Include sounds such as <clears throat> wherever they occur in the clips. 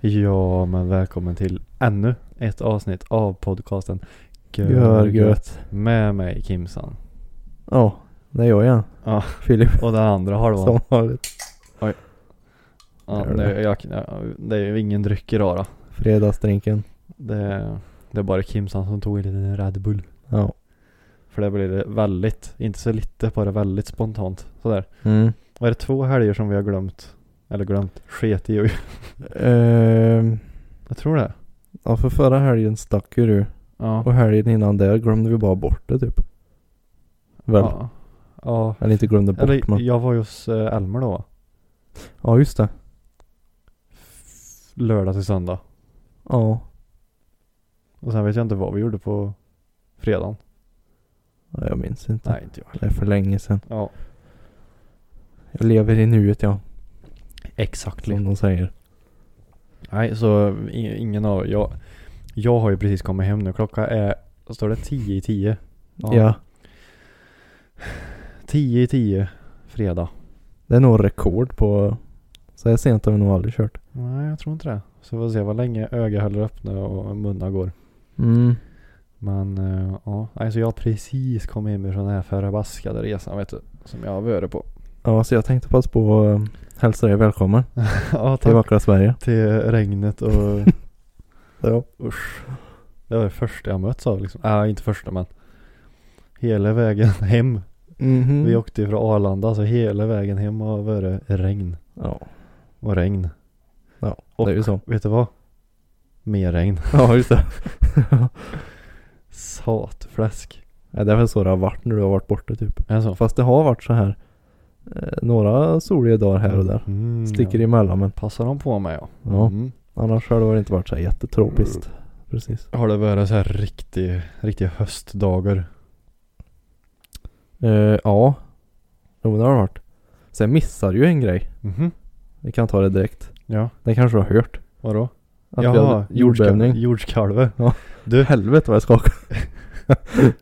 Ja, men välkommen till ännu ett avsnitt av podcasten Gör gött. Med mig Kimsan. Ja, det är jag igen. Ja, Filip. och den andra Som halvan. vanligt. Ja, Gör nu, det. jag, ja, det är ju ingen dryck idag då. Fredagsdrinken. Det, det är bara Kimsan som tog en liten Red Bull. Ja. För det blir det väldigt, inte så lite, bara väldigt spontant. Sådär. Mm. Var det två helger som vi har glömt? Eller glömt? Sket i och Ehm, Jag tror det. ja, för förra helgen stack ju du. Ja. Och helgen innan där glömde vi bara bort det typ. Väl? Ja. ja. Eller inte glömde bort Eller men. jag var ju hos eh, Elmer då. Ja, just det. Lördag till söndag. Ja. Och sen vet jag inte vad vi gjorde på fredagen. ja jag minns inte. Nej, inte jag. Det är för länge sedan. Ja, Jag lever i nuet ja. exakt. Som de säger. Nej, så i- ingen av jag, jag har ju precis kommit hem nu. Klockan är, står det 10 i 10? Ja. 10 i 10 fredag. Det är nog rekord på. Så här sent har vi nog aldrig kört. Nej, jag tror inte det. Så vi får se vad länge öga håller öppna och munnar går. Mm. Men eh, ja, nej, så jag har precis kommit hem från den här förbaskade resan vet du. Som jag har varit på. <laughs> Ja, så jag tänkte passa på att eh, hälsa dig välkommen ja, till tack. vackra Sverige. Till regnet och <laughs> Ja. Usch. Det var det första jag möts av liksom. Nej, inte första men. Hela vägen hem. Mhm. Vi åkte ju från Arlanda så hela vägen hem har varit regn Ja. och regn. Ja, Och det är ju så. <laughs> vet du vad? Mer regn. Ja, just det. Satfläsk. Ja, det är väl så det har varit när du har varit borta typ. Är det så? Fast det har varit så här eh, några soliga dagar här och där. Mm, Sticker ja. emellan men Passar de på mig ja. Ja. Mm. annars har det väl inte varit så här jättetropiskt. Precis. Har det varit så här riktig, riktiga höstdagar? Eh, ja, jo det har det varit. Sen missar du ju en grej. Mhm. Vi kan ta det direkt. Ja. Det kanske du har hört. Vadå? Att vi hade jordbävning. Jordskalve. Ja. Du, Helvete vad jag skakar.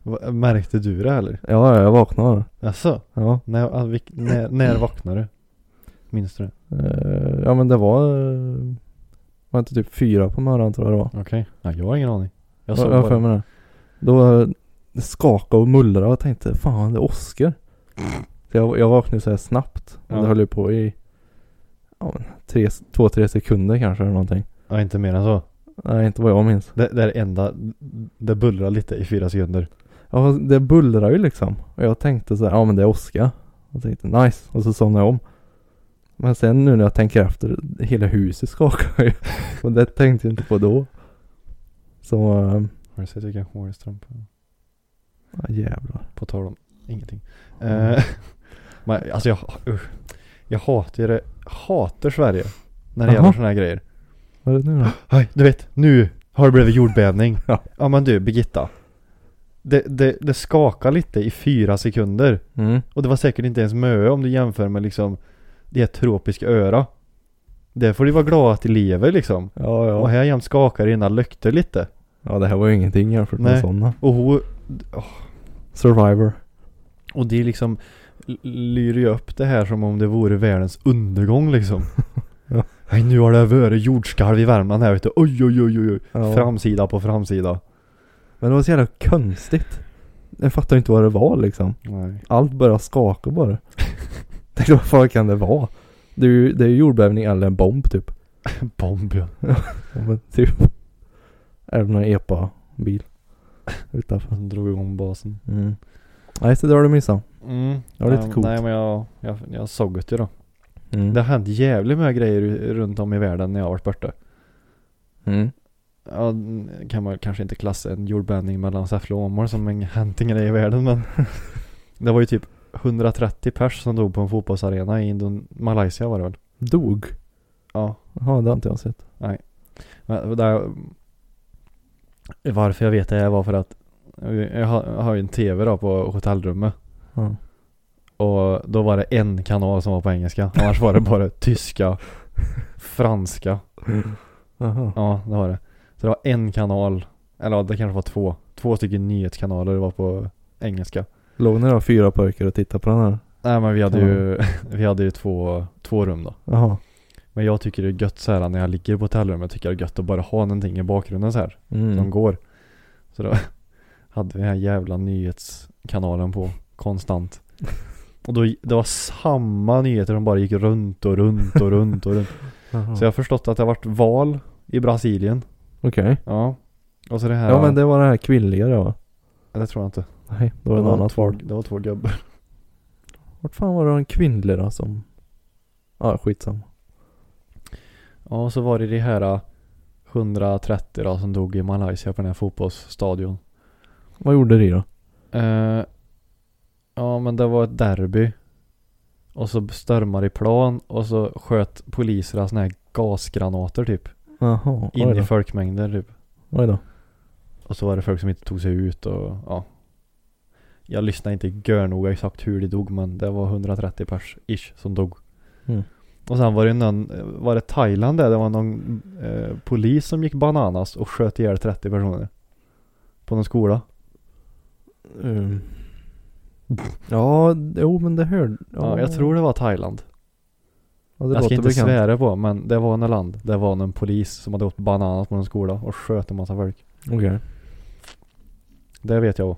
va- märkte du det eller? Ja, ja, jag vaknade. Jaså? Ja. När, all- vilk- när, när vaknade du? Minns du det? Eh, ja men det var... eh, Var inte typ fyra på morgonen tror jag det var. Okej. Nej, jag har ingen aning. Jag Jag såg har för bara. mig det. Då eh, det skakade och mullrade och jag tänkte fan det åskar. Så jag, jag vaknade så här snabbt. Ja. Och det höll ju på i ja, men, tre, två, tre sekunder kanske eller någonting. Ja, inte mer än så. Nej inte vad jag minns. Det, det är det enda, det bullrar lite i fyra sekunder. Ja, fast det bullrade ju liksom. Och jag tänkte så här, ja men det är åska. Och tänkte nice. Och så somnade jag om. Men sen nu när jag tänker efter, hela huset skakar ju. <laughs> Och det tänkte jag inte på då. Så, eh, Har du sett vilka hårstrumpor? ja, jävlar. På tal om ingenting. Mm. Eh, <laughs> men alltså jag, usch. Jag hatar ju det, hatar Sverige. När det Jaha. gäller sådana här grejer. Vad är <laughs> det nu då? Aj, du vet, nu har det blivit jordbävning. Ja. ja men du, Birgitta. Det, det, det skakar lite i fyra sekunder. Mm. Och det var säkert inte ens Möö om du jämför med liksom det här tropiska öra. Där får du vara glad att det lever liksom. Ja, ja. Och här jämt skakar dina lökter lite. Ja det här var ju ingenting jämfört Nej. med sådana. Och hon, Survivor. och det liksom l- lyr ju upp det här som om det vore världens undergång liksom. <laughs> Ja. Nej nu har det varit jordskalv i Värmland här vet du. Oj oj oj oj oj. Ja. Framsida på framsida. Men det var så jävla konstigt. Jag fattar inte vad det var liksom. Nej. Allt började skaka bara. Tänkte vad fan kan det vara? Det är ju, det är ju jordbävning eller en bomb typ. <laughs> Bomb ja. Ja, men typ. Eller någon epa-bil. Utanför. Han drog igång basen. Mm. Nej så det har du missat. Mm. Ja, lite Nej, coolt. Nej men jag, jag, jag såg det ju då. Mm. Det har hänt jävligt många grejer runt om i världen när jag har varit borta. Mm. Ja, kan man kanske inte klassa en jordbävning mellan Säffle och Åmål som en hämting i världen men Det var ju typ 130 pers som dog på en fotbollsarena i Indon- Malaysia var det väl? Dog? Ja. Jaha, det har inte jag sett. Men där, varför jag vet det här var för att jag har, jag har ju en tv då på hotellrummet. Ja. Och då var det en kanal som var på engelska. Annars var det bara tyska, franska. Jaha. Mm. Ja, det var det. Så det var en kanal, eller ja, det kanske var två. Två stycken nyhetskanaler var på engelska. Låg ni då fyra pojkar och tittade på den här? Nej men vi hade ju, <laughs> vi hade ju två, två rum då. Jaha. Men jag tycker det är gött så här när jag ligger på hotellrummet, tycker jag det är gött att bara ha någonting i bakgrunden så här. som Mm. går. Så då <laughs> hade vi den här jävla nyhetskanalen på konstant. Och då, det var samma nyheter som bara gick runt och runt och runt och <laughs> runt. Jaha. Så jag har förstått att det har varit val i Brasilien. Okej. Ja. Och så det här. Ja. men det var den här kvinnliga då va? det tror jag inte. Nej, det var en två, annan folk. det var två gubbar. Vart fan var det en kvinnlig då som... Ja, skitsamma. Ja, och så var det det här eh, 130 då, som dog i Malaysia på den här fotbollsstadion. Vad gjorde de då? Eh, ja men det var ett derby. Och så stormade i plan och så sköt poliserna såna här gasgranater typ. Jaha, In oj i då. folkmängden typ. Oj då. Och så var det folk som inte tog sig ut och ja. Jag lyssnade inte görnoga exakt hur de dog men det var 130 pers ish som dog. Mm. Och sen var det någon, var det Thailand där? Det var någon eh, polis som gick bananas och sköt ihjäl 30 personer. På någon skola. Mm. Ja, jo men det hörde... Ja, jag tror det var Thailand. Ja, det jag ska låter inte bekant. svära på men det var något land. Det var någon polis som hade åkt bananas på någon skola och sköt en massa folk. Okej. Det vet jag.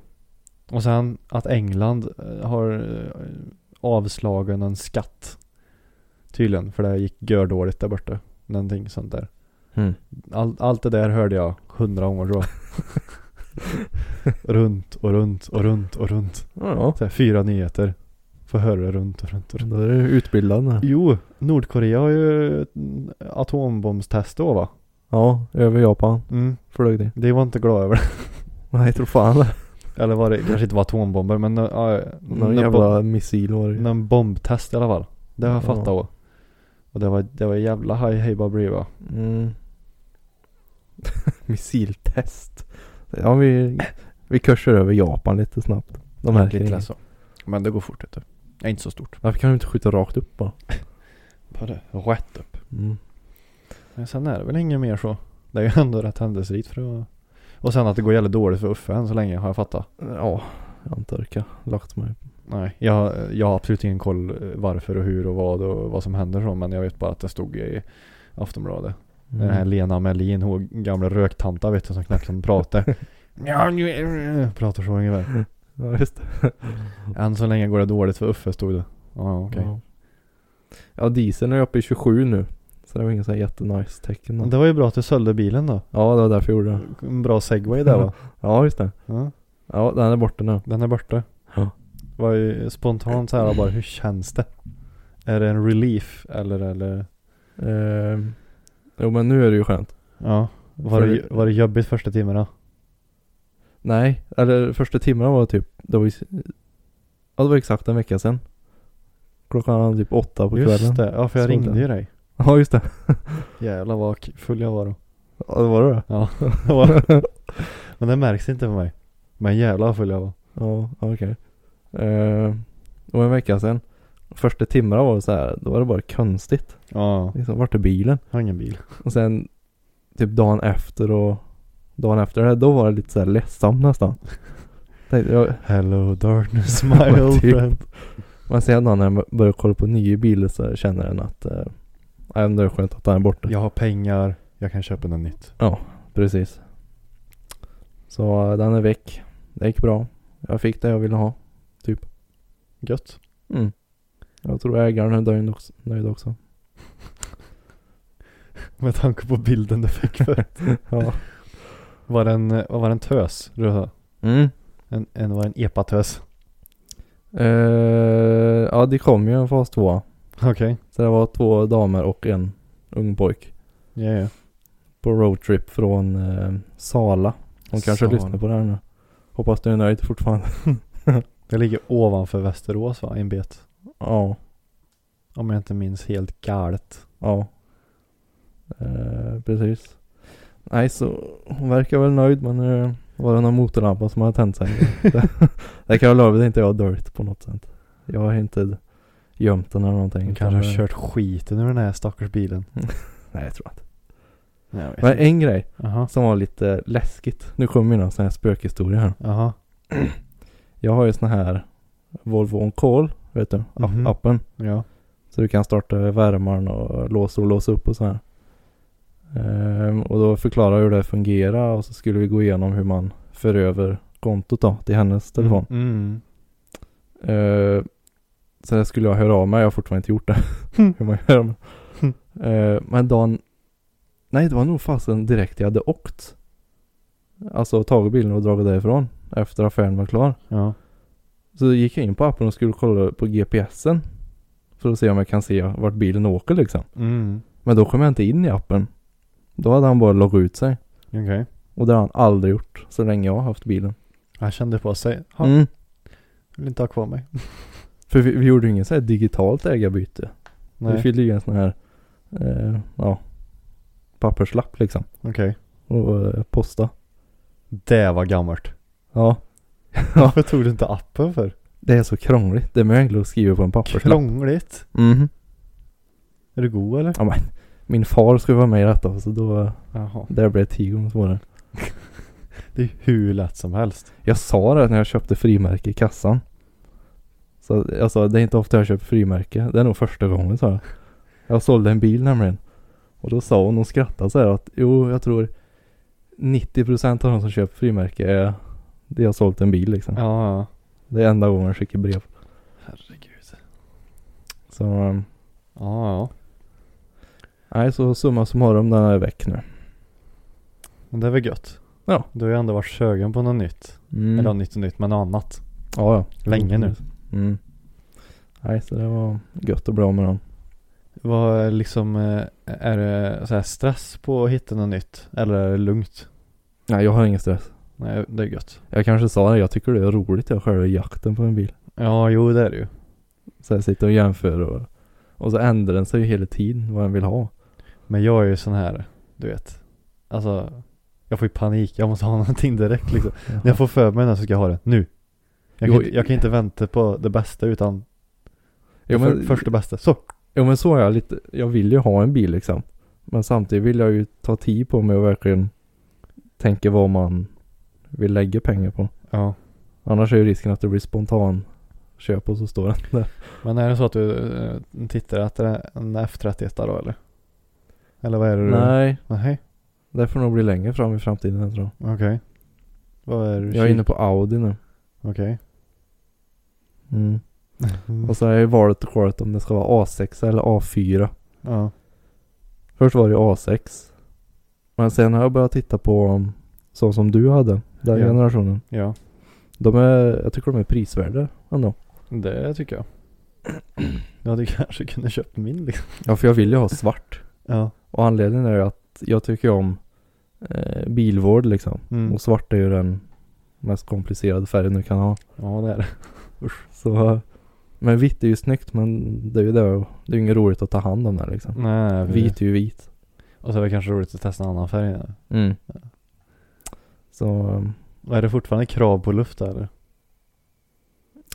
Och sen att England eh, har eh, avslagen en skatt. Tydligen, för det gick gördåligt där borta. Någonting sånt där. Mm. All, allt det där hörde jag <laughs> hundra gånger då. runt och runt och runt och runt. Ja, Så här, fyra nyheter. Får höra det runt och runt och runt. ja. Då är du utbildad nu. Jo, Nordkorea har ju ett mm, atombombstest då va? Ja, över Japan. Mm. Flög det. Det var inte glad över. <laughs> Nej, tror fan det. Eller var det kanske inte var atombomber men eh, ja, Någon någon bo- jävla missil var det ju. någon bombtest i alla fall. Det har jag Ja. fattat då. Och det var, det var jävla haj hej babri va? Mm. <laughs> Missiltest. Ja, vi, vi kursar över Japan lite snabbt. De här Lite grejerna. lätt så. Men det går fort vet du. Det är inte så stort. Varför kan de inte skjuta rakt upp bara? Bara rätt upp. Mm. Men sen är det väl inget mer så. Det är ju ändå rätt händelserikt för att... Och sen att det går jävligt dåligt för Uffe än så länge har jag fattat. Ja, jag har inte orkat lagt mig. Nej, jag, jag har absolut ingen koll eh, varför och hur och vad och vad som händer så, men jag vet bara att det stod i Aftonbladet. Mm. Den här Lena Melin, hon gamla röktanta vet du som knappt kan <laughs> prata. Ja, nu- Pratar så ungefär. Ja, just det. Än så länge går det dåligt för Uffe stod det. Ja, okej. Ja. ja, dieseln är uppe i 27 nu. Så det var inga så här jättenice tecken. då. Det var ju bra att du sålde bilen då. Ja, det var därför jag gjorde det. En bra segway där va? Ja, just det. Ja, Ja, den är borta nu. den är borta. Ja. Var ju spontant så här bara, hur känns det? Är det en relief eller eller? Ehm, jo, men nu är det ju skönt. Ja. Var det, var det jobbigt första timmen då? Nej, eller första timmarna var typ, det var ju, ja det var exakt en vecka sedan. Klockan var typ åtta på kvällen. Just det, ja för jag Såg ringde den. ju dig. <laughs> Ja just det. Jävlar vad k- full jag var då. Ja det var det då. <laughs> Ja. <laughs> Men det märks inte på mig. Men jävlar vad full jag var. Ja, ja, okej. Eh, det var en vecka sedan. Första timmarna var det så här, då var det bara konstigt. Ja. Liksom, vart är bilen? Jag har ingen bil. Och sen typ dagen efter och dagen efter det, då var det lite så här ledsamt <laughs> nästan. Tänkte jag, Hello <laughs> darkness my old Typ. friend. men sen då när jag börjar kolla på nya bilar så känner den att, eh, nej men det är skönt att den är borta. Jag har pengar, jag kan köpa något nytt. Precis. Så eh, den är väck. Det gick bra. Jag fick det jag ville ha. Gött. Mm. Jag tror ägaren är nöjd också. Nöjd också. Med tanke på bilden du fick <laughs> förut. Ja. Var det en, vad var det en tös? du sa? <laughs> Mm. En, en var det en epatös. Eh, ja, det kom ju en fas 2. <laughs> Okej. Så det var två damer och en ung pojk Ja, ja. på roadtrip från eh, Sala. Hon kanske Sala. lyssnar på det här nu. Hoppas du är nöjd fortfarande. Det ligger ovanför Västerås va? En bet. ja. Om jag inte minns helt galet. Ja. Eh, precis. Nej, så hon verkar väl nöjd men eh, var det någon motorlampa som hade <laughs> tänt sig? det, det kan jag lova, det är inte jag dirt på något sätt. Jag har inte gömt den eller någonting. Hon kanske har utan, eh, kört skiten ur den här stackars bilen. Nej, jag tror inte. Nej, jag vet Men inte. en grej Jaha. som var lite läskigt. Nu kommer mina sådana här spökhistorier här. Jaha. Jag har ju sån här Volvo On Call, vet du, app- Mhm. appen. Ja. Så du kan starta värmaren och låsa och låsa upp och så här. Ehm, och då förklara hur det fungerar och så skulle vi gå igenom hur man för över kontot då till hennes telefon. Mm. Mm. Ehm, så det skulle jag höra av mig. Jag har fortfarande inte gjort det. <laughs> hur man gör det. Ehm, men dagen... Nej, det var nog fasen direkt jag hade åkt. Alltså tagit bilen och dragit därifrån efter affären var klar. Ja. Så gick jag in på appen och skulle kolla på GPSen. För att se om jag kan se vart bilen åker liksom. Mm. Men då kom jag inte in i appen. Då hade han bara loggat ut sig. Okej. Och det har han aldrig gjort så länge jag har haft bilen. Han kände på sig. Han Mm. vill inte ha kvar mig. För vi, vi gjorde ju inget så här digitalt ägarbyte. Vi Nej. fyllde ju en sån här, eh, ja, papperslapp liksom. Okej. Och eh, posta. Det var gammalt. Ja, <laughs> Varför tog du inte appen för? det är så krångligt. Det är möjligt att skriva på en papperslapp. Krångligt. Mhm. Är du god eller? Ja, men, min far skulle vara med i detta så då, eh, Jaha. där blev det tio gånger svårare. Det är hur lätt som helst. Jag sa det när jag köpte frimärke i kassan. Så jag sa, det är inte ofta jag köper frimärke. Det är nog första gången sa jag. Jag sålde en bil nämligen. Och då sa hon, hon skrattade så här att jo, jag tror 90% av de som köper frimärke är det jag har sålt en bil liksom. Ja, ja. Det är enda gången jag skickar brev. Herregud. Så, um, Ja, ja. nej så summa summarum den är väck nu. Men det är väl gött. Ja. Du har ju ändå varit sögen på något nytt. Mm. Eller nytt och nytt, men något annat. Ja, ja. Länge nu. Mm. Nej, så det var gött att bli av med den. Vad är liksom, eh, är det så här stress på att hitta något nytt? Eller är det lugnt? Nej, jag har ingen stress. Nej, det är gött. Jag kanske sa det, jag tycker det är roligt jag själva jakten på en bil. Ja, jo det är det ju. Så jag sitter och jämför och, och så ändrar den sig ju hela tiden vad den vill ha. Men jag är ju sån här, du vet. Alltså, jag får ju panik. Jag måste ha <laughs> någonting direkt liksom. När jag får för mig när så ska jag ha det. Nu. Jag kan, Jo, inte, jag kan inte vänta på det bästa utan jo, men, för, första bästa. Så! jo men så är jag lite, jag vill ju ha en bil liksom. Men samtidigt vill jag ju ta tid på mig och verkligen tänka vad man vill lägga pengar på. Ja. Annars är ju risken att det blir spontan köp och så står den där. Men är det så att du eh, tittar efter en F31 då eller? Eller vad är det du? Nej, Nej. det får nog bli längre fram i framtiden jag tror Okej. Vad är det jag. du Jag är kik- inne på Audi nu. <laughs> Okej. Mm. Mm. Och så har jag ju valet och kvalet om det ska vara A6 eller A4. Ja. Först var det A6. Men sen har jag börjat titta på um, så som du hade. Den Ja. generationen. Ja. De är, jag tycker de är prisvärda ändå. Det tycker jag. Du hade kanske kunnat köpt min liksom. Ja för jag vill ju ha svart. Ja. Och anledningen är ju att jag tycker om eh, bilvård liksom. Mm. Och svart är ju den mest komplicerade färgen du kan ha. Ja det är det. Så, eh, men vitt är ju snyggt men det är ju det, det är ju inget roligt att ta hand om den liksom. Nej. vi- Vit är ju vit. Och så är det kanske roligt att testa en annan färg. nu. Mm. Så, eh, Och är det fortfarande krav på luft där, eller?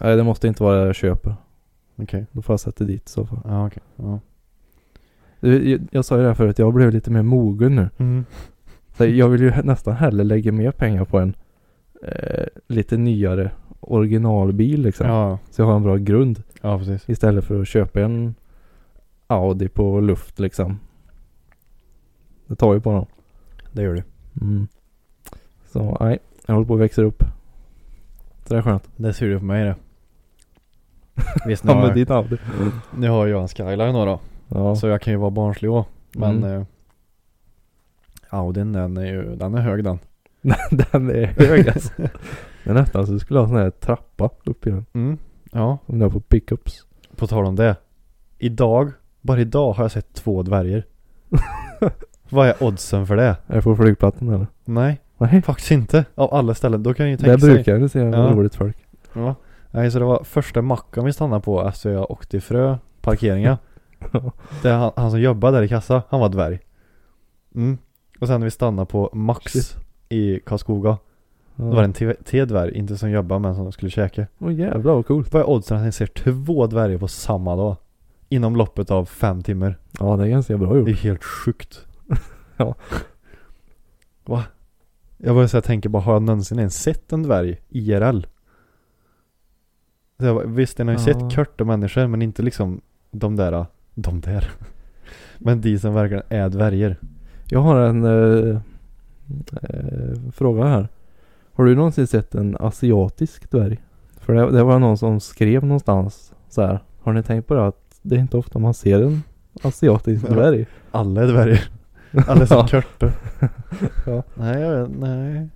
nej det måste inte vara det jag köper. Okej. Då får jag sätta dit i så fall. Ja okej. Ja. Du, Jag, jag sa ju det här förut, jag blev lite mer mogen nu. Mm. Så jag vill ju nästan hellre lägga mer pengar på en eh, lite nyare originalbil liksom. Ja. Så jag har en bra grund. Ja precis. Istället för att köpa en Audi på luft liksom. Det tar ju på dem. Det gör du. Mm. Så nej, jag håller på att växa upp. Så det är skönt. Det ser du på <laughs> mig det. Visst nu Ja, med har, din Audi. nu har jag en skyline då, då. Ja. Så jag kan ju vara barnslig också. Men Mm. <laughs> eh, Audin den är ju, den är hög den. den är hög alltså. Det är nästan så du skulle ha sån här trappa upp i den. Mm. Ja, Om du har på pickups. på tal om det. Idag, bara idag har jag sett två <laughs> dvärger. Vad är oddsen för det? Är det på flygplatsen eller? Nej, Nej. faktiskt inte. Av alla ställen. Då kan jag ju tänka Där sig. brukar jag ju se Ja. roligt folk. Ja. Nej, så det var första macken vi stannade på efter jag åkte i Frö, parkeringen. Det är han, han som jobbade där i kassa, han var dvärg. Mm. Och sen när vi stannade på Max Shit. i Karlskoga, Ja. då var det en till- till dvärg, inte som jobbade men som skulle käka. Åh jävlar vad coolt. Vad är oddsen att ni ser två dvärgar på samma dag? Inom loppet av fem timmar. Ja det är ganska bra Det är gjort. helt sjukt. <laughs> Ja. Va? Jag börjar säga tänker bara, har jag någonsin ens sett en dvärg IRL? Så jag, bara, visst, den har ju Ja. sett korta människor men inte liksom de där, de där. <laughs> Men de som verkligen är dvärger. Jag har en eh, eh, fråga här. Har du någonsin sett en asiatisk dvärg? För det, det var någon som skrev någonstans så här. Har ni tänkt på det att det är inte ofta man ser en asiatisk Ja. dvärg? Alla är dvärger. Alla är så <laughs> Ja. korta. Ja. Nej, jag vet, nej.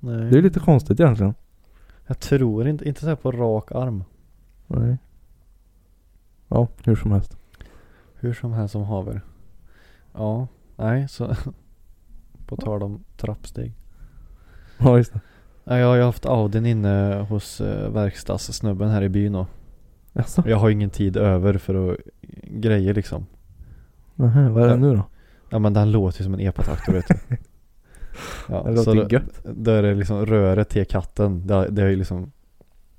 Nej. Det är lite konstigt egentligen. Jag tror inte, inte så här på rak arm. Nej. Ja, hur som helst. <laughs> Hur som helst som haver. Ja, nej så. <laughs> På tal om trappsteg. Ja, just det. Nej, Jag har ju haft Audin inne hos eh, verkstadssnubben här i byn och Jaså? jag har ju ingen tid över för att grejer liksom. Nähä, vad är det Ja. nu då? Ja men den låter ju som en epatraktor <laughs> vet du. Ja, Det så låter då, gött. då är Alltså, det liksom röret till katten. Det, det är ju liksom,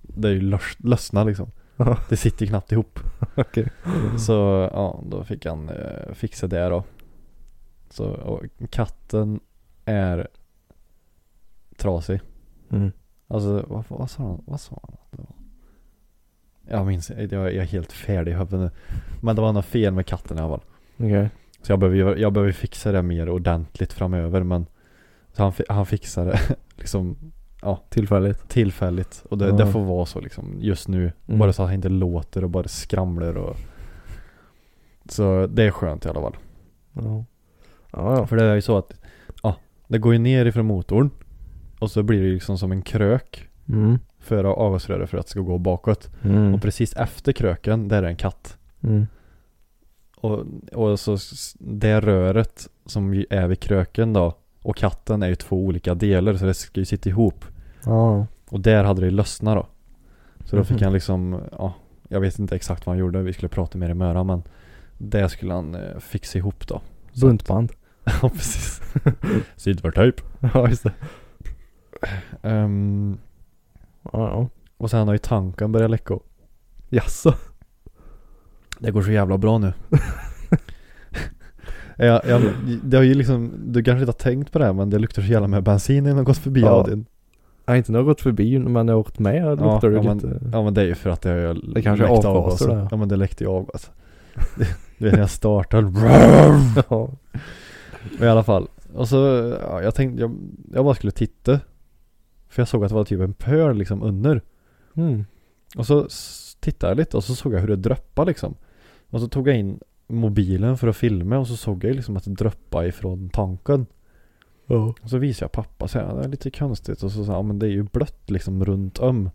det är ju lös, lössna liksom. Ja. Det sitter ju knappt <laughs> ihop. Mm. Okej. Så ja, då fick han eh, fixa det då. Så och katten är trasig. <laughs> Mm. Alltså vad, vad sa han? Vad sa han? att det var? Jag minns jag, jag är helt färdig i huvudet nu. Men det var något fel med katten i alla fall. Okej. Så jag behöver, ju- jag behöver fixa det mer ordentligt framöver men så han, fi- han fixar det <laughs> liksom Tillfälligt. tillfälligt och det, Ja. det får vara så liksom just nu. Mm. Bara så att han inte låter och bara skramlar och så det är skönt i alla fall. Ja. Ja, ja. För det är ju så att ja, det går ju ner ifrån motorn och så blir det ju liksom som en krök Mm. för avgasröret för att det ska gå bakåt. Mm. Och precis efter kröken, där är en katt. Mm. Och, och så s- det röret som ju är vid kröken då och katten är ju två olika delar så det ska ju sitta ihop. Ja. Och där hade det ju lössnat då. Så då fick Mhm. han liksom, ja, jag vet inte exakt vad han gjorde, vi skulle prata mer i Möra men det skulle han eh, fixa ihop då. <laughs> Så- Buntband. Ja <laughs> precis. Silvertejp. <laughs> Ja, just det. Ehm, Ja, ja. och sen har ju tanken börjat läcka upp. Jaså? Det går så jävla bra nu. <laughs> ja, ja, det har ju liksom, du kanske inte har tänkt på det här men det luktar så jävla med bensin innan jag gått förbi Ja. Audin. Jag har inte nog gått förbi men jag har åkt med och Ja, luktar det ja, men- lite. Ja men det är ju för att det har ju Det kanske är läckt avgaser avgaser. där, ja. Ja men det läckte ju alltså. <laughs> avgas. Du vet när jag startade. <laughs> <laughs> Ja. Men I alla fall. Och så, ja, jag tänkte, jag, jag bara skulle titta. För jag såg att det var typ en pöl liksom under. Mm. Och så s- tittade jag lite och så såg jag hur det droppade liksom. Och så tog jag in mobilen för att filma och så såg jag liksom att det droppade ifrån tanken. Ja. Och så visade jag pappa så här, det är lite konstigt och så sa han, "Ja, men det är ju blött liksom runt om.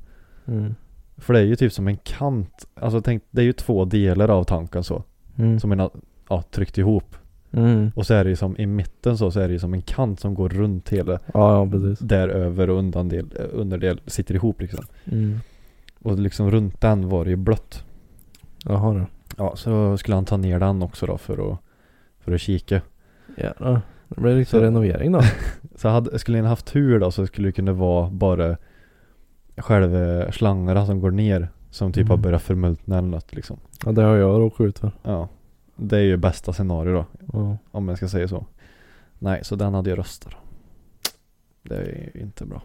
Mm. För det är ju typ som en kant, alltså tänk, det är ju två delar av tanken så. Mm. Som är ja, tryckt ihop. Mm. Och så är det ju som i mitten så, så är det ju som en kant som går runt hela. Ja, ja precis. Där över och undandel, eh, underdel sitter ihop liksom. Mm. Och liksom runt den var det ju blött. Jaha då. Ja, så skulle han ta ner den också då för att, för att kika. Jävlar. Det blir riktig Så- renovering då. Så hade, skulle han haft tur då så skulle det kunna vara bara själva slangarna som går ner som typ har Mm. börjat förmultna eller något liksom. <laughs> Ja, det har jag råkat ut för. Ja. Det är ju bästa scenario då, Ja. om jag ska säga så. Nej, så den hade ju röster då. Det är ju inte bra.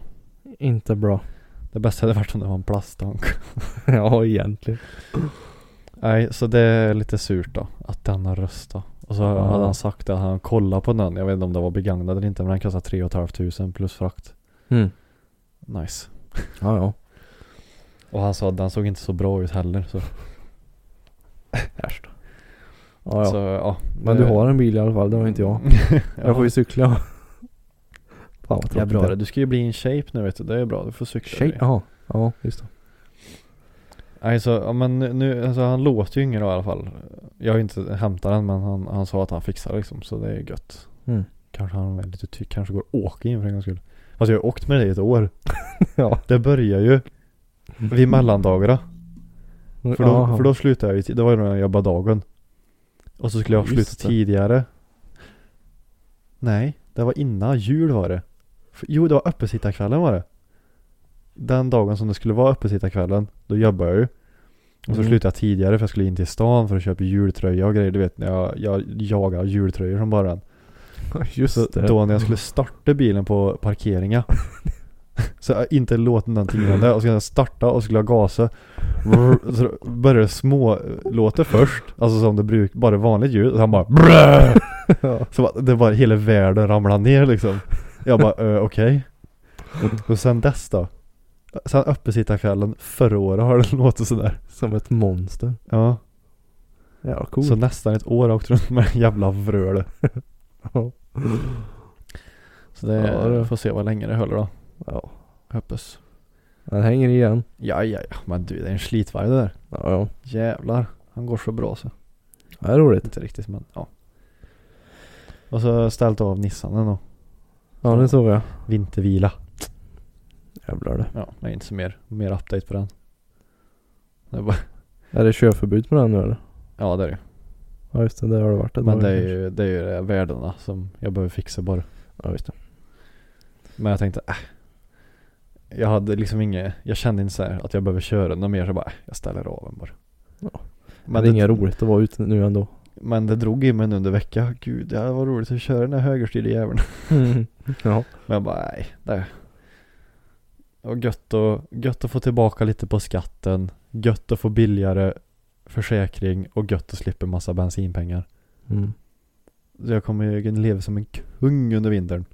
Inte bra. <laughs> Det bästa hade varit om det var en plasttank. ja, egentligen. Nej, så det är lite surt då att den har röstat. Och så Ja. hade han sagt att han kollat på den. Jag vet inte om det var begagnad eller inte men den kostade 3 500 plus frakt. Mm. Nice. Ja, ja. Och han sa att den såg inte så bra ut heller. Så, Äsch då. Ja, ja. så ja. men du har en bil i alla fall, det har <laughs> inte jag. Jag får ju <laughs> cykla. Fan vad Ja, tråkigt. bra det. Du ska ju bli in shape nu vet du. Det är bra. Du får cykla. Tjej. grejer. Ja. Ja, just det. Nej så, ja, men nu, alltså han låter ju ingen då i alla fall. Jag har ju inte hämtat den men han, han sa att han fixar liksom så det är gött. Mm. Kanske han är lite ty- kanske går och åker in för en gångs skull. Fast jag har ju åkt med dig i ett år. Ja. Mm. Det börjar ju vid mellandagarna. För då, för då slutade jag ju, ti- det var ju när jag jobbade dagen. Och så skulle jag ha Just slutat det. tidigare. Nej, det var innan jul var det. För- Jo, det var öppesittarkvällen var det. Den dagen som det skulle vara öppesittarkvällen, då jobbade jag ju. Och så Mm. slutade jag tidigare för jag skulle in till stan för att köpa jultröja och grejer. Du vet, när jag, jag jagar jultröjor som bara den. <laughs> Just Så det. Mm. då när jag skulle starta bilen på <laughs> parkeringen Så jag inte låten den tinglade och så skulle jag starta och skulle jag gasa Vrr, Så då började det smålåta först Alltså som det brukar, bara vanligt ljud och han bara "Brrr!" <laughs> Ja. Så bara- det bara hela världen ramlade ner liksom Jag bara "Eh, okej Och sen dess då Sen öppesittarkvällen förra året har det <laughs> låtit sådär Som ett monster. Ja, Ja, cool. så nästan ett år har jag åkt runt med en jävla vröl <laughs> Ja. Så det, Ja, det- får se vad länge det håller då ja. Hoppas Den hänger igen. Ja, ja, ja, men du det är en slitvarg det där. Ja, ja. Jävlar, han går så bra Mm. så. Det är roligt. Inte riktigt men ja. Och så har jag ställt av Nissanen då. Ja, det såg jag. Vintervila. Jävlar det. Ja, det är inte så mer, mer update på den. Det är bara, Är det körförbud på den nu eller? ja det är det Ja just det, det har det varit ett Men tag det är kanske. ju, det är ju det värdena som jag behöver fixa bara. Ja just det. Men jag tänkte, äh. Jag hade liksom inget, jag kände inte så här att jag behöver köra något mer så bara, äh, jag ställer av den bara. Ja. Men det är det, inget roligt att vara ute nu <laughs> ändå. men det drog i mig nu under veckan. Gud, det här var roligt att köra den här högerstyrda jäveln. <laughs> ja. Men jag bara, nej, det och gött, och gött att få tillbaka lite på skatten, gött att få billigare försäkring och gött att slippa massa bensinpengar. Mm. Så jag kommer ju leva som en kung under vintern.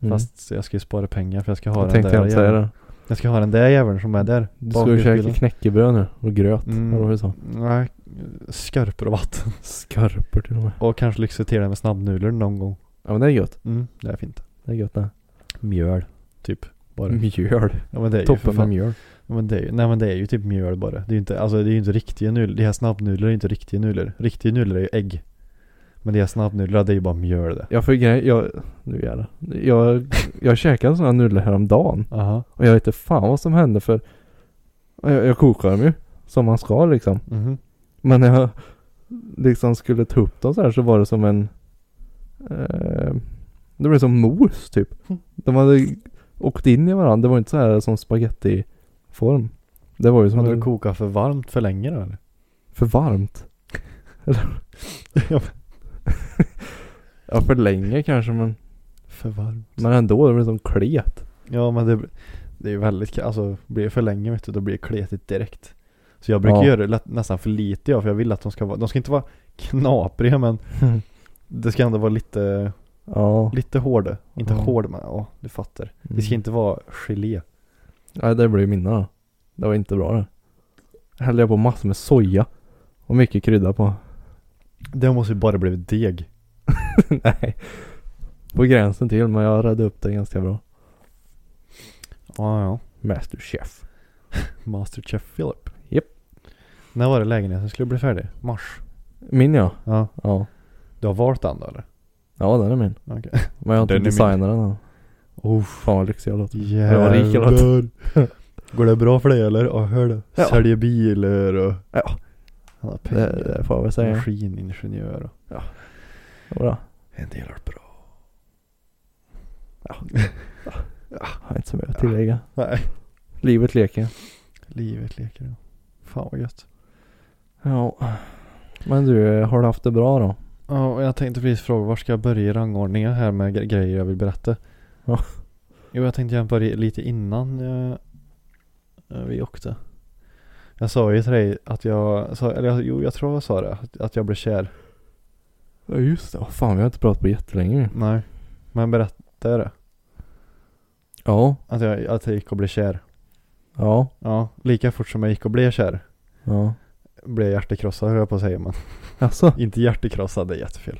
Mm. Fast jag ska ju spara pengar för jag ska ha jag den tänkte där jag säga jäveln. det. Jag ska ha den där jäveln som är där. Du bak ska ju i käka bilen. knäckebröd nu och gröt. Mm. Eller vad var det du sa? Nej, skarper och vatten. <laughs> Skarper till och med. Och kanske lyxa till det med snabbnudlar någon gång. Ja men det är gött. Mm, det är fint. Det är gött det. Mjöl, typ. Bara. <laughs> Mjöl. Ja, men det är ju för Toppen fan- med mjöl. Ja, Men det är ju, nej men det är ju typ mjöl bara. Det är ju inte, alltså det är ju inte riktiga nudlar. De här snabbnudlar är inte riktiga nudlar. Riktiga nudlar är ju ägg. Men de här snabbnudlarna det är ju bara mjöl det. Jag får ju grej, jag, nu jävlar. Jag, jag käkade sådana nudlar häromdagen. Aha. Och jag vet inte fan vad som hände för jag, jag kokar dem ju. Som man ska liksom. Mhm. Men när jag liksom skulle ta upp dem så här så var det som en eh, Det blev som mos typ. De hade åkt in i varandra. Det var inte så här som spagettiform. Det var ju som Hade en, du kokat för varmt för länge då eller? <laughs> för varmt. Eller? Ja, ja för länge kanske men För varmt. Men ändå, det blev som <laughs> klet. Ja men det, det är ju väldigt, ka- alltså blir det för länge vet du då blir det kletigt direkt. Så jag brukar Ja. göra det lätt, nästan för lite ja, för jag vill att de ska vara, de ska inte vara knapriga men det ska ändå vara lite, ja. lite hårda. Inte Ja. hård men ja, du fattar. Det ska Mm. inte vara gelé. Nej det blev ju mina då. Det var inte bra det. Hällde jag på massor med soja. Och mycket krydda på. Det måste ju bara blivit deg. <laughs> Nej. På gränsen till men jag redde upp det ganska bra. Ja, ja. Masterchef. Masterchef Philip. Japp. När var det lägenheten skulle bli färdig? Mars? Min ja. Ja. Ja. Du har valt den då eller? Ja den är min. Okej. Men jag har inte Den är min. designat den än. Oh, Fan vad lyxig jag låter. jävlar. rik eller <laughs> Går det bra för dig eller? Ja, hör det. Ja. Säljer bilar och... Ja. Han har pengar. Det, det får jag väl säga. Maskiningenjör och... Jodå. En del är bra. Har inte så mycket att tillägga. Nej. Livet leker. Livet leker. ja. Fan vad gött. Ja. Men du, har du haft det bra då? Ja, och jag tänkte precis fråga var ska jag börja i rangordningen här med gre- grejer jag vill berätta? Ja. Jo, jag tänkte jag börja lite innan jag, eh, vi åkte. Jag sa ju till dig att jag, sa, eller jag- jo jag tror jag sa det, att- att jag blev kär. Ja just det. fan vi har inte pratat på jättelänge nu. Nej. Men berättade jag det? Ja. Att jag, att jag gick och blev kär. Ja. Ja, lika fort som jag gick och blev kär Ja. blev jag hjärtekrossad höll jag på att säga men <laughs> Alltså. inte hjärtekrossad, det är jättefel.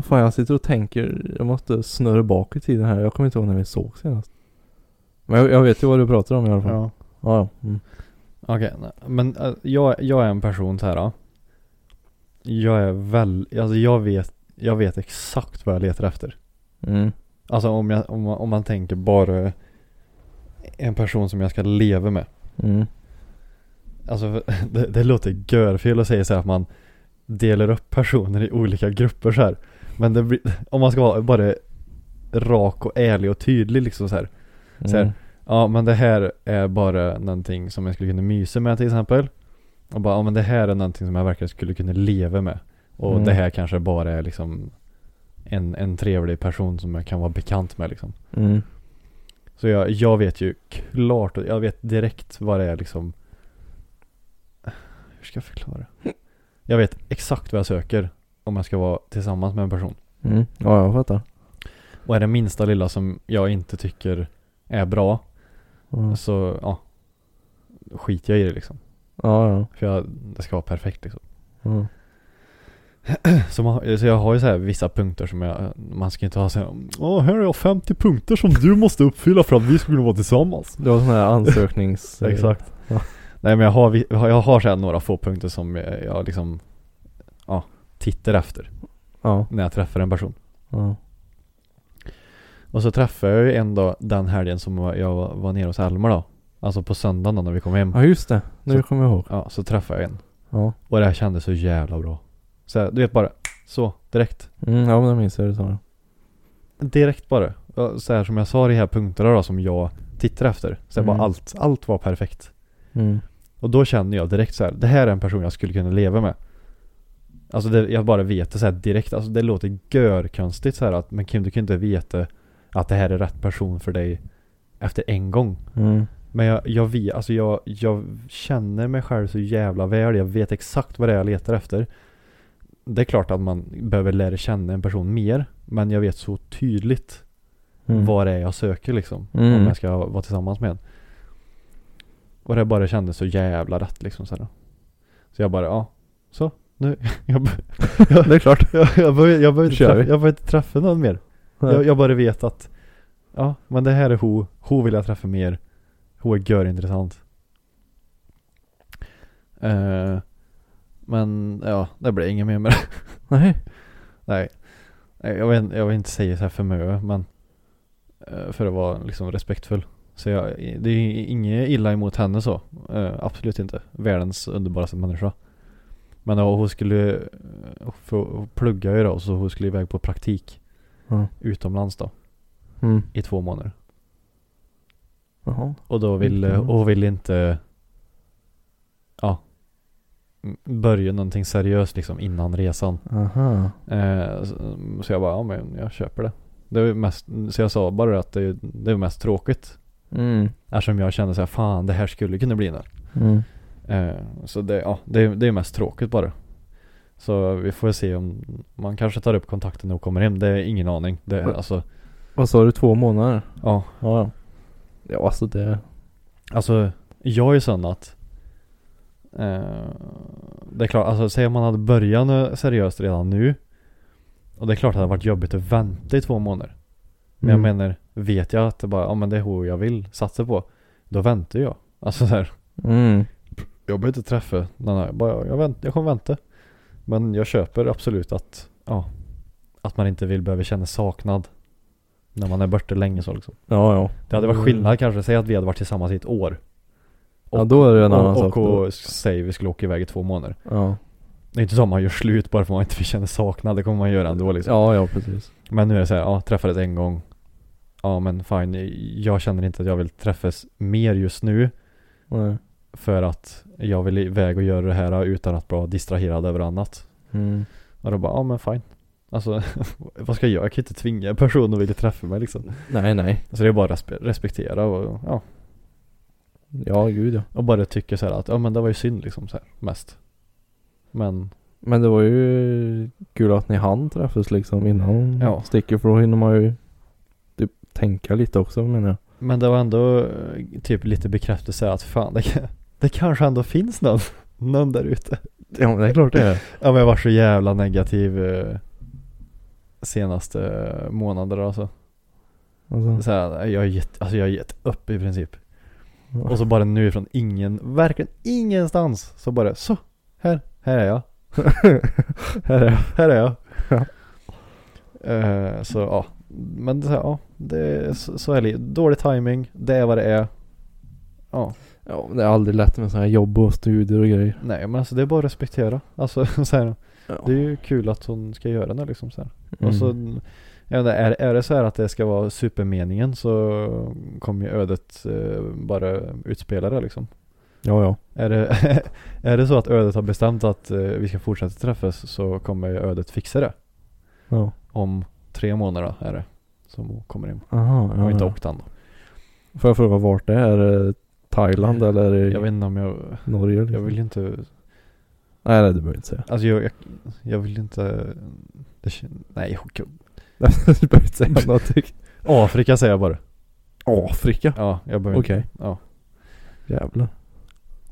Fan jag sitter och tänker, jag måste snurra bak i tiden här. Jag kommer inte ihåg när vi såg senast. Men jag, jag vet ju vad du pratar om i alla fall. Ja. Ja. ja. Mm. Okej, nej. men eh, jag, jag är en person så här. ja. Jag är väl, alltså jag vet, jag vet exakt vad jag letar efter. Mm. Alltså om, jag, om, man, om man tänker bara en person som jag ska leva med. Mm. Alltså <laughs> det, det låter görfel att säga så här att man delar upp personer i olika grupper så här. Men det blir, <laughs> om man ska vara bara rak och ärlig och tydlig liksom så här. Så här, mm, Ja men det här är bara någonting som jag skulle kunna mysa med till exempel. Och bara, ja men det här är någonting som jag verkligen skulle kunna leva med. Och Mm. det här kanske bara är liksom en, en trevlig person som jag kan vara bekant med liksom. Mm. Så jag, jag vet ju klart, och jag vet direkt vad det är liksom Hur ska jag förklara? Jag vet exakt vad jag söker om jag ska vara tillsammans med en person. Mm. Ja, jag fattar. Och är det minsta lilla som jag inte tycker är bra Ja, så ja skiter jag i det liksom. ja. ja. För jag, det ska vara perfekt liksom. ja. Så, man, så jag har ju så här vissa punkter som jag, man ska inte ha så här, Åh, här har jag 50 punkter som du måste uppfylla för att vi skulle vara tillsammans. Det var sån här ansöknings... <laughs> Exakt. Ja. Nej men jag har, vi- jag har så här några få punkter som jag, jag liksom, ja, tittar efter Ja. när jag träffar en person. ja. Och så träffade jag ju en dag den helgen som jag var- var nere hos Alma då. Alltså på söndagen då när vi kom hem. Ja, just det. Nu Så- kommer jag ihåg. Ja, så träffade jag en. Ja. Och det här kändes så jävla bra. Så här, du vet bara, så, direkt. Mm, ja, men jag minns hur du sa det. Direkt bara. Ja, Så här som jag sa, de här punkterna då som jag tittar efter. Så här, Mm. bara allt, allt var perfekt. Mm. Och då känner jag direkt så här, det här är en person jag skulle kunna leva med. Alltså det, jag bara vet det så här direkt, alltså det låter görkonstigt så här att, men Kim du kan inte veta att det här är rätt person för dig efter en gång. Mm. Men jag, jag vet, alltså jag, jag känner mig själv så jävla väl, jag vet exakt vad det är jag letar efter. Det är klart att man behöver lära känna en person mer, men jag vet så tydligt Mm. vad det är jag söker liksom. Mm. Om jag ska vara tillsammans med en. Och det bara kändes så jävla rätt liksom så, här. så jag bara, ja, så, nu, <laughs> jag, be- <laughs> Det är klart. jag, jag, behöver, jag, behöver, inte Kör träffa, vi. jag behöver inte träffa någon mer. Jag, jag bara vet att, ja, men det här är Ho, Ho vill jag träffa mer. Ho är görintressant. Eh, men ja, det blir inget mer med det. Nej. Nej. Nej, Jag vill, jag vill inte säga så här för mycket men eh, för att vara liksom respektfull. Så jag, det är inget illa emot henne så. Eh, absolut inte. Världens underbaraste människa. Men ja, hon skulle eh, få hon plugga ju då, så hon skulle iväg på praktik Ja. utomlands då Mm. i två månader. Jaha. Och då ville, Mm. och ville inte ja, m- börja någonting seriöst liksom innan resan. Aha. Eh, så, så jag bara, ja men jag köper det. det var ju mest, så jag sa bara att det, är- det är mest tråkigt. Mm. Eftersom jag kände så här, fan det här skulle kunna bli något. Mm. Eh, så det, ja, det, är- det är mest tråkigt bara. Så vi får se om man kanske tar upp kontakten när hon kommer hem. Det är ingen aning. Det, är Mm. alltså, Vad sa du? Två månader? ja. Ja, ja. Ja, alltså det... Alltså, jag är ju sån att eh, Det är klart, alltså säg om man hade börjat nu- seriöst redan nu Och det är klart att det hade varit jobbigt att vänta i två månader Men Mm. jag menar, vet jag att det bara, ja men det är hon jag vill satsa på Då väntar jag Alltså så här, Mm. jag behöver inte träffa den här, bara jag, vänt, jag kommer vänta Men jag köper absolut att, ja Att man inte vill behöva känna saknad När man är borta länge så liksom Ja, ja. Det hade varit Mm. skillnad kanske, säg att vi hade varit tillsammans i ett år Ja, då är det en annan och, sak. och, då. och säger vi skulle åka iväg i två månader. Ja. Det är inte så att man gör slut bara för att man inte känner saknad, det kommer man göra ändå liksom. ja, ja precis. Men nu är det så här, ja träffades en gång. Ja men fine, jag känner inte att jag vill träffas mer just nu Nej. för att jag vill iväg och göra det här utan att vara distraherad över annat. Mm. Och då bara, ja men fine. Alltså <laughs> vad ska jag göra? Jag kan inte tvinga en person att vilja träffa mig liksom. Nej, nej. Så det är bara att respe- respektera och ja. Ja, gud ja. Och bara tycka så här att, ja men det var ju synd liksom så här, mest. Men Men det var ju kul att ni hann träffas liksom innan Ja. sticker för då hinner man ju typ tänka lite också menar jag. Men det var ändå eh, typ lite bekräftelse att fan det, kan- det kanske ändå finns någon, <laughs> någon där ute. Ja men det är klart det är. Ja men jag var så jävla negativ eh, senaste månader alltså. Alltså, Så här, jag har gett, alltså jag har gett upp i princip. Och så bara nu från ingen, verkligen ingenstans så bara så, här, här är jag. <laughs> här är jag. Här är jag. Eh, så ja, men det, ja, det, är- så, så är det. Dålig timing, det är vad det är. Ja. Ja, men det är aldrig lätt med sådana här jobb och studier och grejer. Nej men alltså det är bara att respektera. Alltså <laughs> så här, Ja. det är ju kul att hon ska göra det liksom så här. Mm. Och så, jag vet inte, är, är det så här att det ska vara supermeningen så kommer ju ödet eh, bara utspela det liksom. Ja, ja. Är det, <laughs> är det så att ödet har bestämt att eh, vi ska fortsätta träffas så kommer ju ödet fixa det. Ja. Om tre månader då är det som kommer in. Aha, Och ja, inte ja. Oktan då. Får jag fråga vart det är? Är det Thailand eller är det Jag vet inte om jag, Norge? Liksom? jag vill ju inte, Nej, nej, det behöver jag inte säga. <laughs> alltså jag, jag, jag vill ju inte, det, kän- nej gud. du behöver inte <laughs> säga någonting. Afrika säger jag bara. Afrika? Ja, jag behöver Okej. inte. Ja. Jävlar.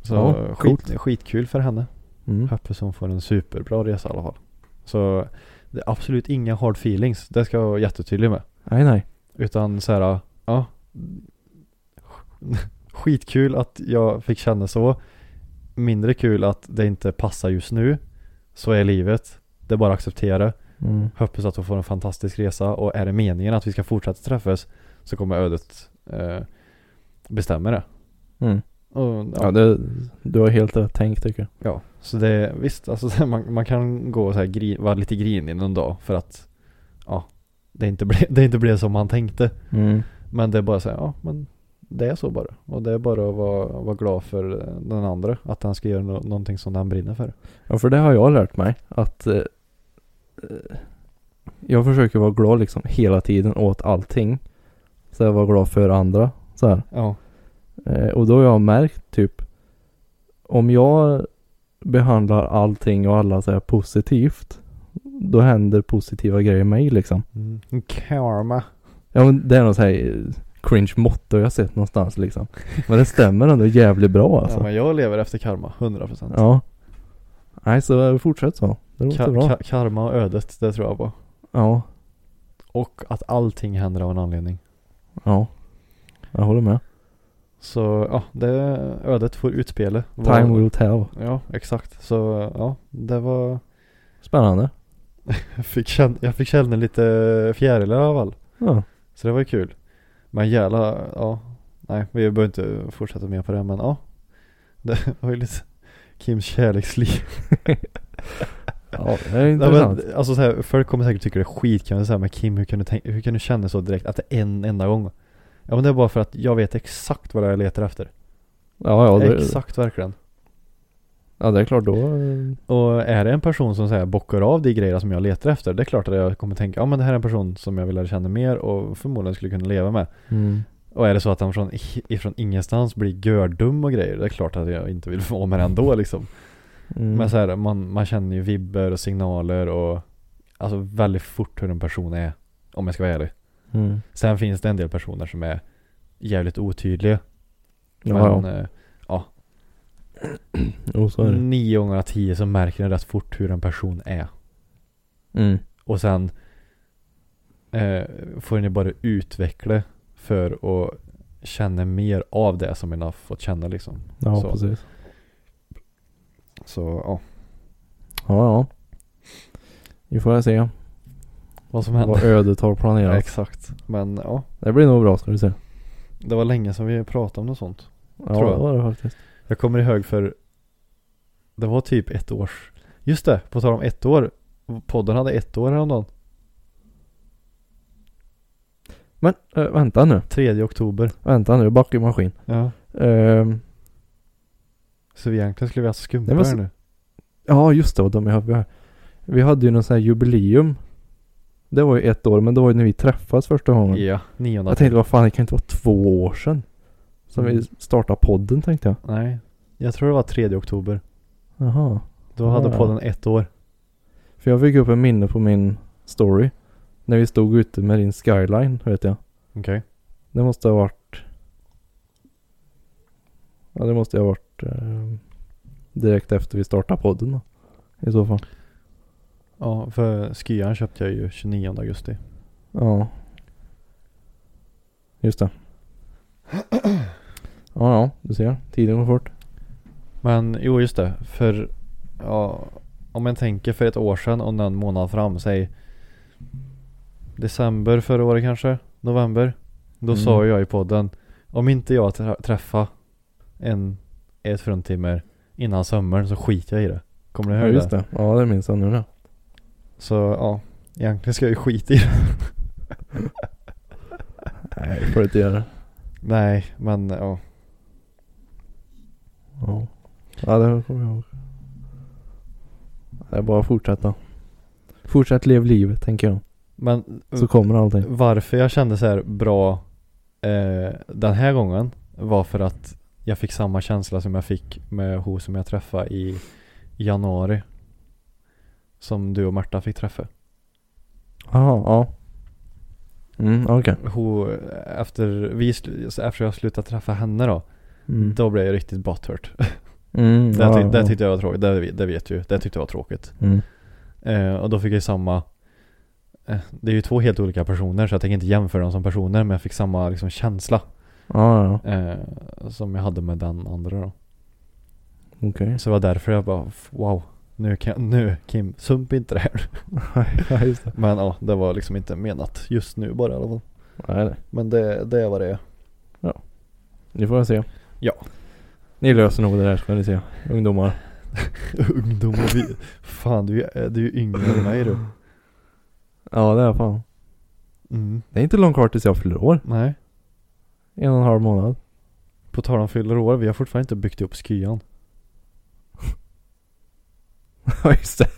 Så Ja, skit, coolt. skitkul för henne. Mm. Hoppas hon får en superbra resa i alla fall. Så det är absolut inga hard feelings, det ska jag vara jättetydlig med. Nej, nej. Utan så här, ja. <laughs> Skitkul att jag fick känna så. Mindre kul att det inte passar just nu. Så är livet. Det är bara att acceptera. Mm. Hoppas att hon får en fantastisk resa och är det meningen att vi ska fortsätta träffas så kommer ödet eh, bestämma det. Mm. Och, Ja, det, du har helt rätt tänkt tycker jag. Ja, så det, visst, alltså <laughs> så här, man, man kan gå och så här, gri, vara lite grinig någon dag för att, ja, det inte, ble, <laughs> det inte blev som man tänkte. Mm. Men det är bara så här, ja, men det är så bara. Och det är bara att vara, vara glad för den andra, att han ska göra nå- någonting som han brinner för. Ja, för det har jag lärt mig. Att eh, eh, jag försöker vara glad liksom hela tiden åt allting. Så jag var glad för andra. Så här. Ja, Eh, och då har jag märkt typ om jag behandlar allting och alla så här positivt. Då händer positiva grejer med mig liksom. mm. karma. Ja men det är någon så här eh, cringe motto jag har sett någonstans liksom. Men det stämmer ändå jävligt bra <laughs> Ja, alltså. men jag lever efter karma, 100%. procent. Ja. Nej så fortsätt så. Det låter bra. karma och ödet, det tror jag på. Ja. Och att allting händer av en anledning. Ja. Jag håller med. Så ja, det ödet får utspela. Vad- Time will tell. Ja, exakt. Så ja, det var... Spännande. Jag fick känna, jag fick känna lite fjärilar i alla fall. Ja. Så det var ju kul. Men jävla, ja. Nej, vi behöver inte fortsätta mer på det, men ja. Det <laughs> var ju lite Kims kärleksliv. ja det är Nej, intressant. men, alltså så här, folk kommer säkert tycka det är skitkul säga, men Kim hur kan, du tänka, hur kan du känna så direkt att det är en enda gång? Ja men det är bara för att jag vet exakt vad jag letar efter. Ja ja det, exakt verkligen. ja det är klart då. eh, Och är det en person som säger bockar av de grejerna som jag letar efter, det är klart att jag kommer tänka, ja men det här är en person som jag vill lära känna mer och förmodligen skulle kunna leva med. Mm. Och är det så att han från, ifrån ingenstans blir gördum och grejer, det är klart att jag inte vill <laughs> vara med den då liksom. Mm. Men så här, man, man känner ju vibber och signaler och alltså väldigt fort hur en person är, om jag ska vara ärlig. Mm. Sen finns det en del personer som är jävligt otydliga. Ja, men eh, ja. Och så är det. nio gånger av tio så märker jag rätt fort hur en person är. Mm. Och sen eh, får ni bara utveckla för att känna mer av det som ni har fått känna liksom. Ja, Så. precis. Så ja, Ja, ja. Vi får väl se vad som händer. vad ödet har Ja, planerat. exakt. Men ja, Det blir nog bra ska du se. det var länge sedan vi pratade om något sånt. Ja, Tror jag. det var det faktiskt. Jag kommer ihåg för det var typ ett års, just det, på tal om ett år. Podden hade ett år häromdagen, Men eh, vänta nu. 3 oktober. Vänta nu. Backa i maskin. Ja. Ehm, Så vi egentligen skulle vi alltså skumpa Nej, men här så- nu. ja, just det. vad dum jag har- Vi hade ju någon sån här jubileum. Det var ju ett år, men det var ju när vi träffades första gången. Ja, 9 Jag tänkte, vad fan, det kan inte vara två år sedan. Som Mm. vi startade podden tänkte jag. Nej, jag tror det var 3 oktober. Jaha. Då hade Ja. podden ett år. För jag fick upp en minne på min story. När vi stod ute med din skyline, vet jag. Okej. Det måste ha varit... Ja, det måste ha varit eh, direkt efter vi startade podden då. I så fall. Ja, för skyan köpte jag ju 29 augusti. Ja. Just det. Ja, ja, du ser. Tiden går fort. Men jo, just det. För, ja, om jag tänker för ett år sedan och någon månad fram, säg december förra året kanske, november. Då Mm. sa jag i podden, om inte jag trä- träffar en, ett fruntimmer innan sommaren så skiter jag i det. Kommer du Ja ihåg just det? det. Ja det minns jag nu då. Så ja, egentligen ska jag ju skita i det. Nej det får du inte göra. Nej, men ja. Ja. Ja det kommer jag ihåg. Det är bara att fortsätta. Fortsätt leva livet tänker jag. Men Så kommer allting. varför jag kände så här bra eh, den här gången var för att jag fick samma känsla som jag fick med hon som jag träffade i januari. Som du och Märta fick träffa. Jaha, ja. Mm, okej. Hon, efter, vi, sl- efter jag slutade träffa henne då, Mm. då blev jag riktigt butthurt. <laughs> Mm, Det, ty- ja, det ja. tyckte jag var tråkigt, det, det vet du. Det tyckte jag var tråkigt. Mm. Eh, och då fick jag ju samma eh, det är ju två helt olika personer så jag tänker inte jämföra dem som personer men jag fick samma liksom, känsla Ja, ja. eh, som jag hade med den andra då. Okej. Så det var därför jag bara f- wow, nu kan, nu Kim, sump inte det här. <laughs> ja, just det. Men ja, det var liksom inte menat just nu bara i alla fall. Nej, nej. Men det, det är vad det är. Nu får jag se. Ja. Ni löser nog det där ska ni se. Ungdomar. <laughs> Ungdom och vi, fan du är, du är ju yngre än mig du. Ja det är fan. Mm, Det är inte långt kvar tills jag fyller år. nej. En och en halv månad. <laughs> På tal om fyller år, vi har fortfarande inte byggt upp skyan. Ja just det.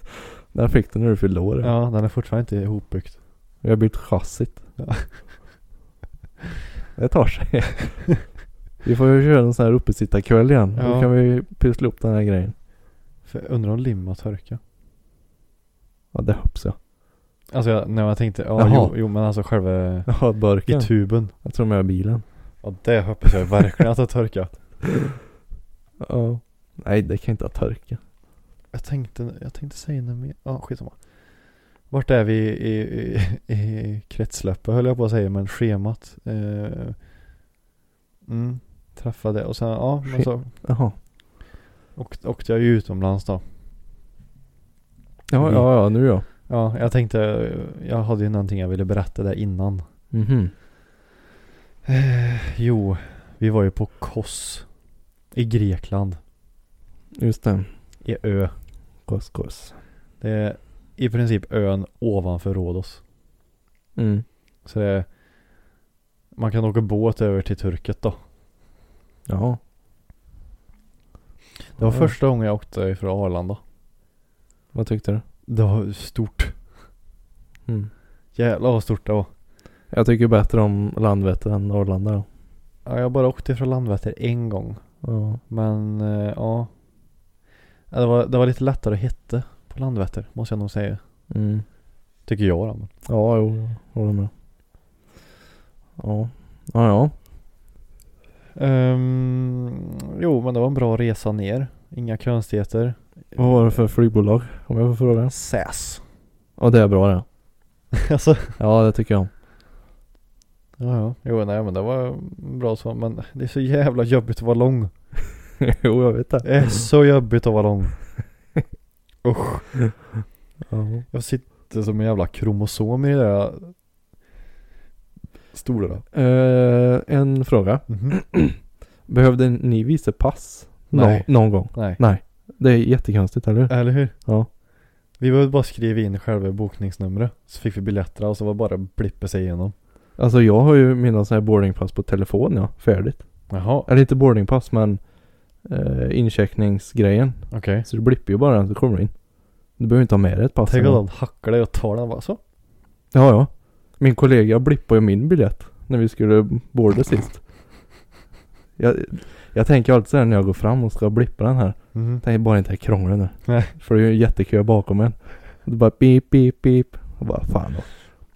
Där fick du när du fyllde år. Ja, den är fortfarande inte ihopbyggd. Jag har bytt chassit. Ja. <laughs> Det tar sig. <laughs> vi får ju köra en sån här uppesittarkväll igen. Då Ja. kan vi pyssla upp den här grejen. För jag undrar om limma torkar. Ja det hoppas jag. Alltså jag, när jag tänkte, ja Jaha. jo, jo men alltså själva Ja burken. i tuben. Jag tror med bilen. Ja det hoppas jag verkligen att det torkar. Ja. Nej det kan inte ha torkat. Jag tänkte, jag tänkte säga något mer, ja skitsamma. Vart är vi i, i, i kretsloppet höll jag på att säga, men schemat. Eh, mm, träffade och sen, ja men så Jaha. åkt- åkte jag ju utomlands då. Ja, Vi- ja, ja, nu ja. Ja, jag tänkte, jag hade ju någonting jag ville berätta där innan. Mhm. Eh, jo, vi var ju på Kos i Grekland, Just det. i ö. Kos, kos. Det är i princip ön ovanför Rhodos. Mm. Så det är, man kan åka båt över till Turket då. Jaha. Det var Ja. första gången jag åkte ifrån Arlanda. Vad tyckte du? Det var stort. Mm. Jävlar vad stort det var. Jag tycker bättre om Landvetter än Arlanda då. Ja, jag bara åkte ifrån Landvetter en gång. Ja. Men eh, ja. ja det, var, det var lite lättare att hitta på Landvetter måste jag nog säga. Mm. Tycker jag då. men. Ja, jo, jag håller med. Ja. Ja, ja. Ehm, jo men det var en bra resa ner. Inga konstigheter. Vad var det för flygbolag? Om jag får fråga. SAS. Ja, det är bra det. <laughs> alltså Ja, det tycker jag. Ja, ja. Jo, nej men det var bra så. Men det är så jävla jobbigt att vara lång. <laughs> jo, jag vet Det är så jobbigt att vara lång. <laughs> Usch. Ja. Jag sitter som en jävla kromosom i de där stolarna. Eh, en fråga. Mhm. Behövde ni visa pass? Nej. Nå- någon gång? Nej. Nej. Det är jättekonstigt, eller hur? Eller hur? Ja. Vi behövde bara skriva in själva bokningsnumret. Så fick vi biljetterna och så var det bara att blippa sig igenom. Alltså jag har ju mina sådana här boardingpass på telefon ja, färdigt. Jaha, Eller inte boardingpass men eh, incheckningsgrejen. okej. Så du blippar ju bara den så kommer du in. Du behöver inte ha med dig ett pass. Tänk eller om något. någon hackar dig och tar den bara så. Ja ja. Min kollega blippade ju min biljett när vi skulle boarda sist. Jag, jag tänker alltid såhär när jag går fram och ska blippa den här. Mhm. Tänk bara inte krångla nu. Nej. För det är ju en jättekö bakom en. Och det bara pip pip pip. Och bara fan då.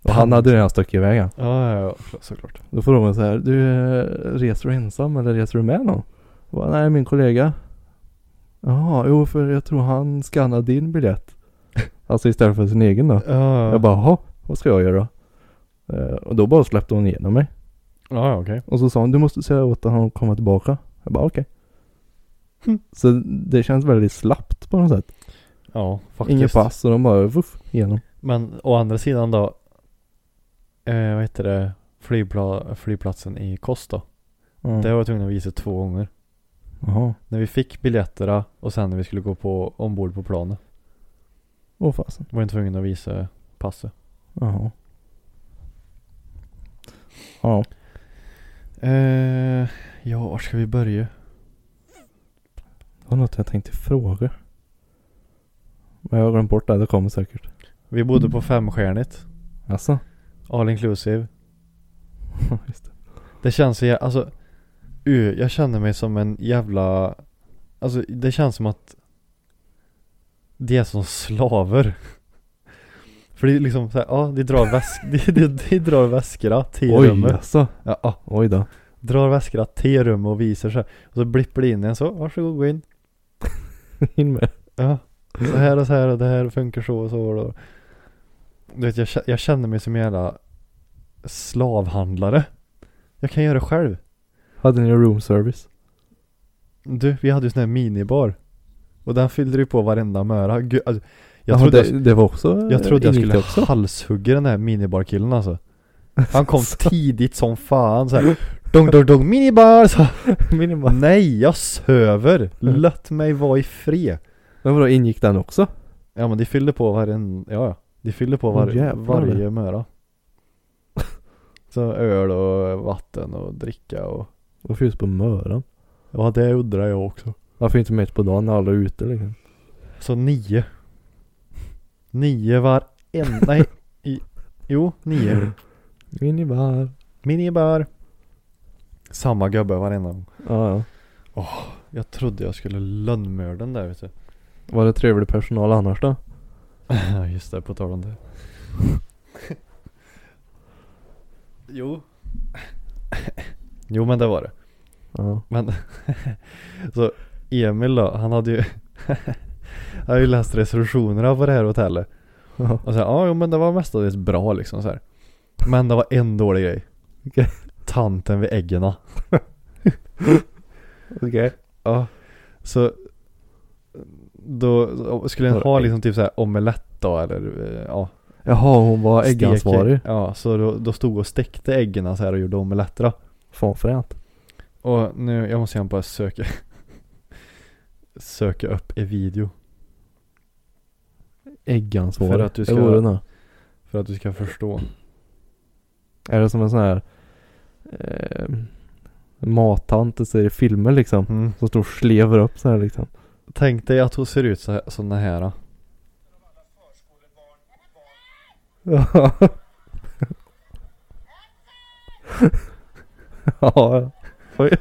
Och han Panik. hade redan stuckit iväg han. Ja, ja, ja, såklart. Då frågade hon så här, du eh, reser du ensam eller reser du med någon? Jag bara, nej min kollega. Jaha, jo för jag tror han skannade din biljett. Alltså istället för sin egen då. Ja, Jag bara, jaha, vad ska jag göra? Eh, Och då bara släppte hon igenom mig. Ja, ja, okej. Och så sa hon, du måste säga åt honom att komma tillbaka. Jag bara, okej. Så det känns väldigt slappt på något sätt. Ja, faktiskt. Inget pass och de bara, vuff, igenom. Men å andra sidan då, eh, vad heter det, Flygpla- flygplatsen i Kos då. Mm. Det var jag tvungen att visa två gånger. Jaha. När vi fick biljetterna och sen när vi skulle gå på, ombord på planet. Åh fasen. Var inte tvungen att visa passet. Jaha. Ja. Eh, ja, var ska vi börja? Det var något jag tänkte fråga. Men jag har glömt bort det. Det kommer säkert. Vi bodde på femstjärnigt. <laughs> Alltså? All inclusive. Just det. Det känns så jä- alltså. Uh, jag känner mig som en jävla. Alltså det känns som att. De är som slaver. <laughs> För det är liksom såhär, ja de drar väsk, <laughs> de, de, de drar väskorna till Oj rummet. alltså. Ja, ja. <laughs> Oj då. Drar väskorna till rummet och visar sig. Och så blippar det in en så, varsågod gå in. In med. Ja. Så här och så här och det här funkar så och så och då. Du vet jag, kä- jag känner mig som en jävla slavhandlare. Jag kan göra det själv. Hade ni room service? Du, vi hade ju sån här minibar. Och den fyllde du på varenda möra. Gud, alltså, jag, Jaha, trodde jag, det, det var också jag trodde jag ingick skulle det också. halshugga den här minibarkillen alltså. Han <laughs> kom tidigt som fan så här. Dong dong dong minibar! Så, Minimal. nej, jag söver! Låt mig vara i fred. Men vadå ingick den också? Ja men de fyllde på varenda, ja ja. De fyllde på Åh, var, jävlar. varje möra. Så öl och vatten och dricka och... Varför just på Möran? Ja det undrar jag också. Varför inte mitt på dagen när alla är ute liksom? Så nio. Nio var en, nej. I, jo, nio. Minibar. Minibar. Samma gubbe varenda gång. Ja, ja. Jag trodde jag skulle lönnmörda den där vet du. Var det trevlig personal annars då? Ja just det, på tal om det. jo. jo men det var det. <laughs> Ja. Men så Emil då, han hade ju <laughs> Han hade ju läst recensionerna på det här hotellet Ja. Och så här, ja jo, men det var mestadels bra liksom så här. Men det var en dålig grej Okej. Tanten vid äggen Okej. Ja Så Då så skulle den ha liksom typ så här omelett då eller eh, ja Jaha, hon var stek- äggansvarig. Ja så då, då stod och stekte äggen så här och gjorde omeletter då. Fan fränt. Och nu, jag måste gärna bara söka Söka upp en video Äggansvarig. För att du ska- Det vore nå. För att du ska förstå. Är det som en sån här eh, mattant du ser i filmer liksom? Som står och slever upp så här liksom. <laughs> Tänk dig att hon ser ut så här, sån här. Ja. <laughs> ja. Oj.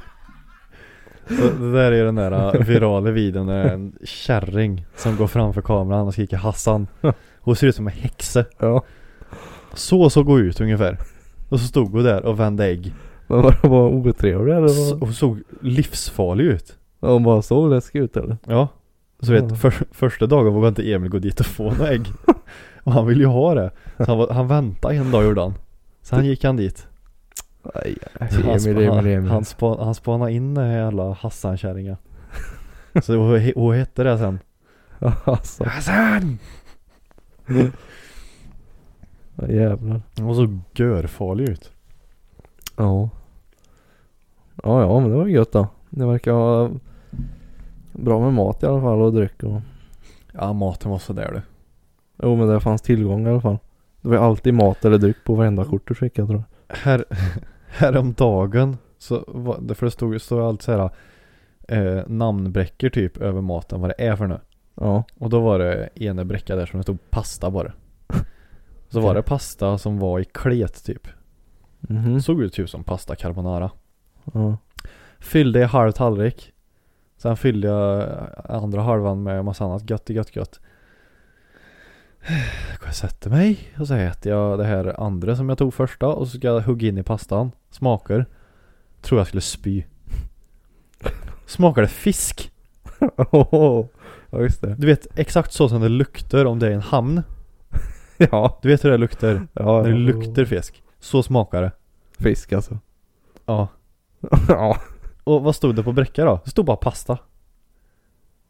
Så det där är den där äh, virala videon där det är en kärring som går framför kameran och skriker <laughs> Hassan. Hon ser ut som en häxa. Ja. Så såg hon ut ungefär. Och så stod hon där och vände ägg. Men var det bara otrevlig eller? Så, Var... hon såg livsfarlig ut. Hon bara såg läskig ut eller? Ja. Så Ja. vet, för, första dagen vågade inte Emil gå dit och få några <laughs> ägg. Och han ville ju ha det. Så han, var, han väntade en dag gjorde han. Sen gick han dit. Aj, Han, Emil, spa- Emil, Emil. han, <laughs> han, spa, han spanade in alla Hassan-kärringar. Så hon, he- hon hette det sen. alltså, Hassan! <laughs> vad jävlar. Hon såg görfarlig ut. Ja. Ja, ja, men det var gött då. Det verkar vara bra med mat i alla fall och dryck och... Ja, maten var sådär du. Jo, men det fanns tillgång i alla fall. Det var ju alltid mat eller dryck på varenda kort du skickade tror jag. Här, <laughs> häromdagen så var, det- för det stod, stod allt såhär eh, namnbräckor typ över maten vad det är för nu. Ja. Och då var det en bräcka där som det stod pasta bara. <laughs> Så var det pasta som var i klet typ. Mhm. Såg ut typ som pasta carbonara. Ja. Fyllde i halv tallrik Sen fyllde jag andra halvan med massa annat gött i gött gött <sighs> Jag går och sätter mig och så äter jag det här andra som jag tog första och så ska jag hugga in i pastan Smaker Tror jag skulle spy <laughs> Smakar det fisk? <laughs> ja, just det. Du vet exakt så som det luktar om det är en hamn <laughs> Ja. Du vet hur det luktar? ja När det luktar fisk Så smakar det Fisk alltså. <laughs> Ja ja. Och vad stod det på bräcka då? Det stod bara pasta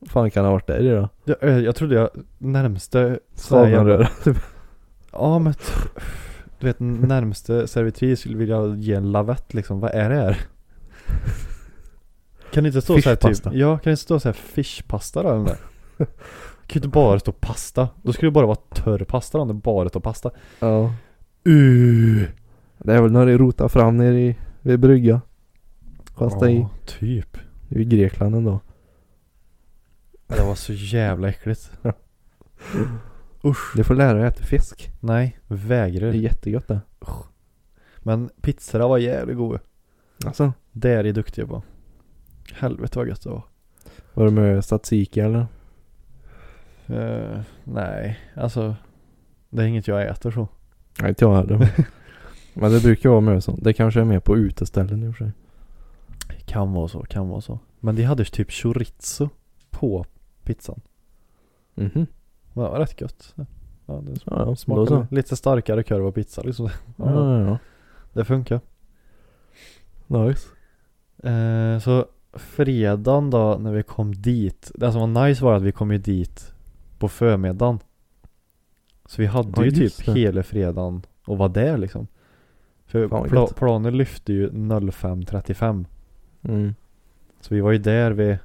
fan kan det ha varit där i då? Jag, eh, jag trodde jag närmste sån här jävla- Svanröra. Ja men t- Du vet närmste servitris skulle vilja ge en lavett liksom, vad är det här? Kan det inte stå såhär typ, Fishpasta. ja kan det inte stå såhär fishpasta då? eller nåt där? Det kan ju inte bara stå pasta. Då skulle det bara vara törr pasta om det bara står pasta. Ja. Uh. Det är väl när det rotar fram nere i, vid brygga. Kasta i. typ. Det är ju Grekland ändå. Det var så jävla äckligt. Usch. Du får lära dig att äta fisk. Nej, Det är vägrar. jättegott det. Men pizzorna var jävligt goda. Alltså. Det är de duktiga på. Helvete vad gött det var. Var det med tzatziki eller? Eh, nej, alltså. Det är inget jag äter så. Nej inte jag heller. <laughs> Men det brukar vara med sånt. Det kanske är mer på uteställen i och för sig. Kan vara så, kan vara så. Men de hade typ chorizo på pizzan. Mhm. Det var rätt gött. Ja, det Ja, ja. Då smakade så. lite starkare korv och pizza liksom. Ja, ja, Det funkar. ja. Nice. Eh, så fredagen då när vi kom dit. Det som var nice var att vi kom ju dit på förmiddagen. Så vi hade Ja, ju just typ det. hela fredagen och var där liksom. För Fan, vad pla- gött. planen lyfte ju 05.35. Mm. Så vi var ju där vid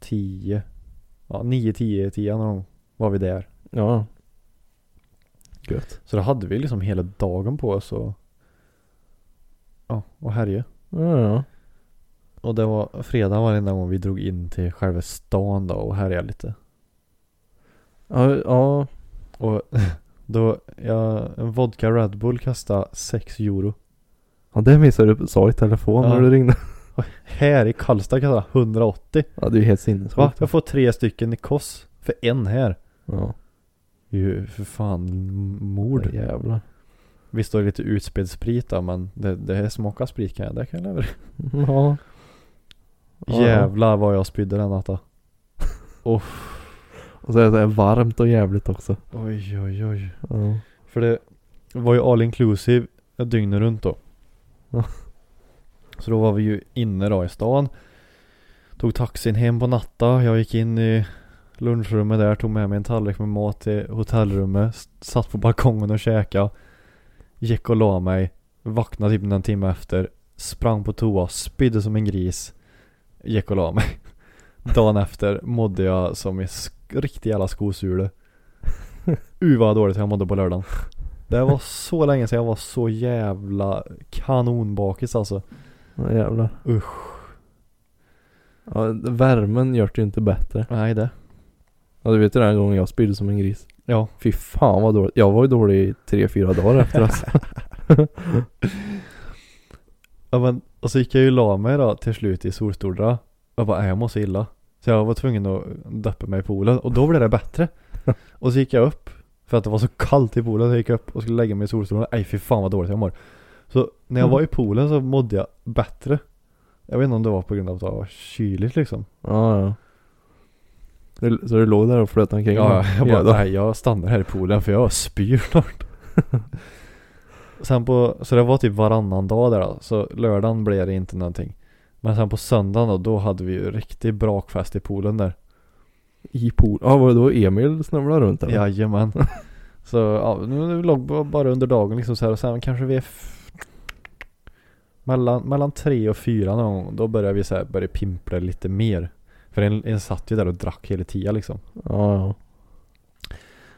10. Ja 9, 10, 10 någon gång var vi där. Ja. Gött. Så då hade vi liksom hela dagen på oss och Ja, och härja. Ja, ja. Och det var fredag var det enda gången vi drog in till själva stan då och härjade lite. Ja, ja. Och <laughs> då, jag, en vodka Red Bull kastade 6 euro. ja det missade du sa i telefon Ja. när du ringde. Här i Karlstad kastade 180. Ja det är ju helt Va? sinnessjukt. Jag får tre stycken i koss för en här. Ja. Det är ju för fan m- mord. Jävlar. Visst då är det lite utspädd sprit då men det, det här smakar sprit kan jag, det kan jag leverera. Ja. Ja, ja. Jävlar vad jag spydde den natten. Och så är det så här varmt och jävligt också. Oj oj oj. Ja. För det var ju all inclusive dygnet runt då. Ja. Så då var vi ju inne då i stan. Tog taxin hem på natta. Jag gick in i lunchrummet där, tog med mig en tallrik med mat till hotellrummet. s- Satt på balkongen och käkade. Gick och la mig. Vaknade typ en timme efter. Sprang på toa, spydde som en gris. Gick och la mig. Dagen efter mådde jag som en sk- riktig jävla skosule. Uh vad dåligt jag mådde på lördagen. Det var så länge sedan jag var så jävla kanonbakis alltså. Ja jävlar. Usch. Ja, värmen gör det ju inte bättre. Nej det. Ja du vet ju den gången jag spydde som en gris. Ja. Fy fan vad dåligt. Jag var ju dålig i tre, fyra dagar <laughs> efter alltså. ja men, och så gick jag ju och la mig då till slut i Solstordra. Jag bara, nej jag mår så illa. Så jag var tvungen att döppa mig i poolen och då blev det <laughs> bättre. och så gick jag upp. För att det var så kallt i poolen så jag gick upp och skulle lägga mig i Solstordra. Nej fy fan vad dåligt jag mår. Så när jag Mm. var i poolen så mådde jag bättre. Jag vet inte om det var på grund av att det var kyligt liksom. Ja ja. Du- Så du låg där och flöt omkring? Ja, jag <laughs> bara, Jävlar. nej jag stannar här i poolen för jag spyr snart. <laughs> sen på, så det var typ varannan dag där då, så lördagen blev det inte någonting. Men sen på söndagen då, då hade vi ju riktigt brakfest i poolen där. I pool. Ja var det då Emil snubblade runt <laughs> eller? Jajamän. så ja, nu låg vi bara under dagen liksom så här och sen kanske vi är f- mellan, mellan tre och fyra någon gång, då började vi så här, började pimpla lite mer. För en, en satt ju där och drack hela tiden liksom. Ja ja.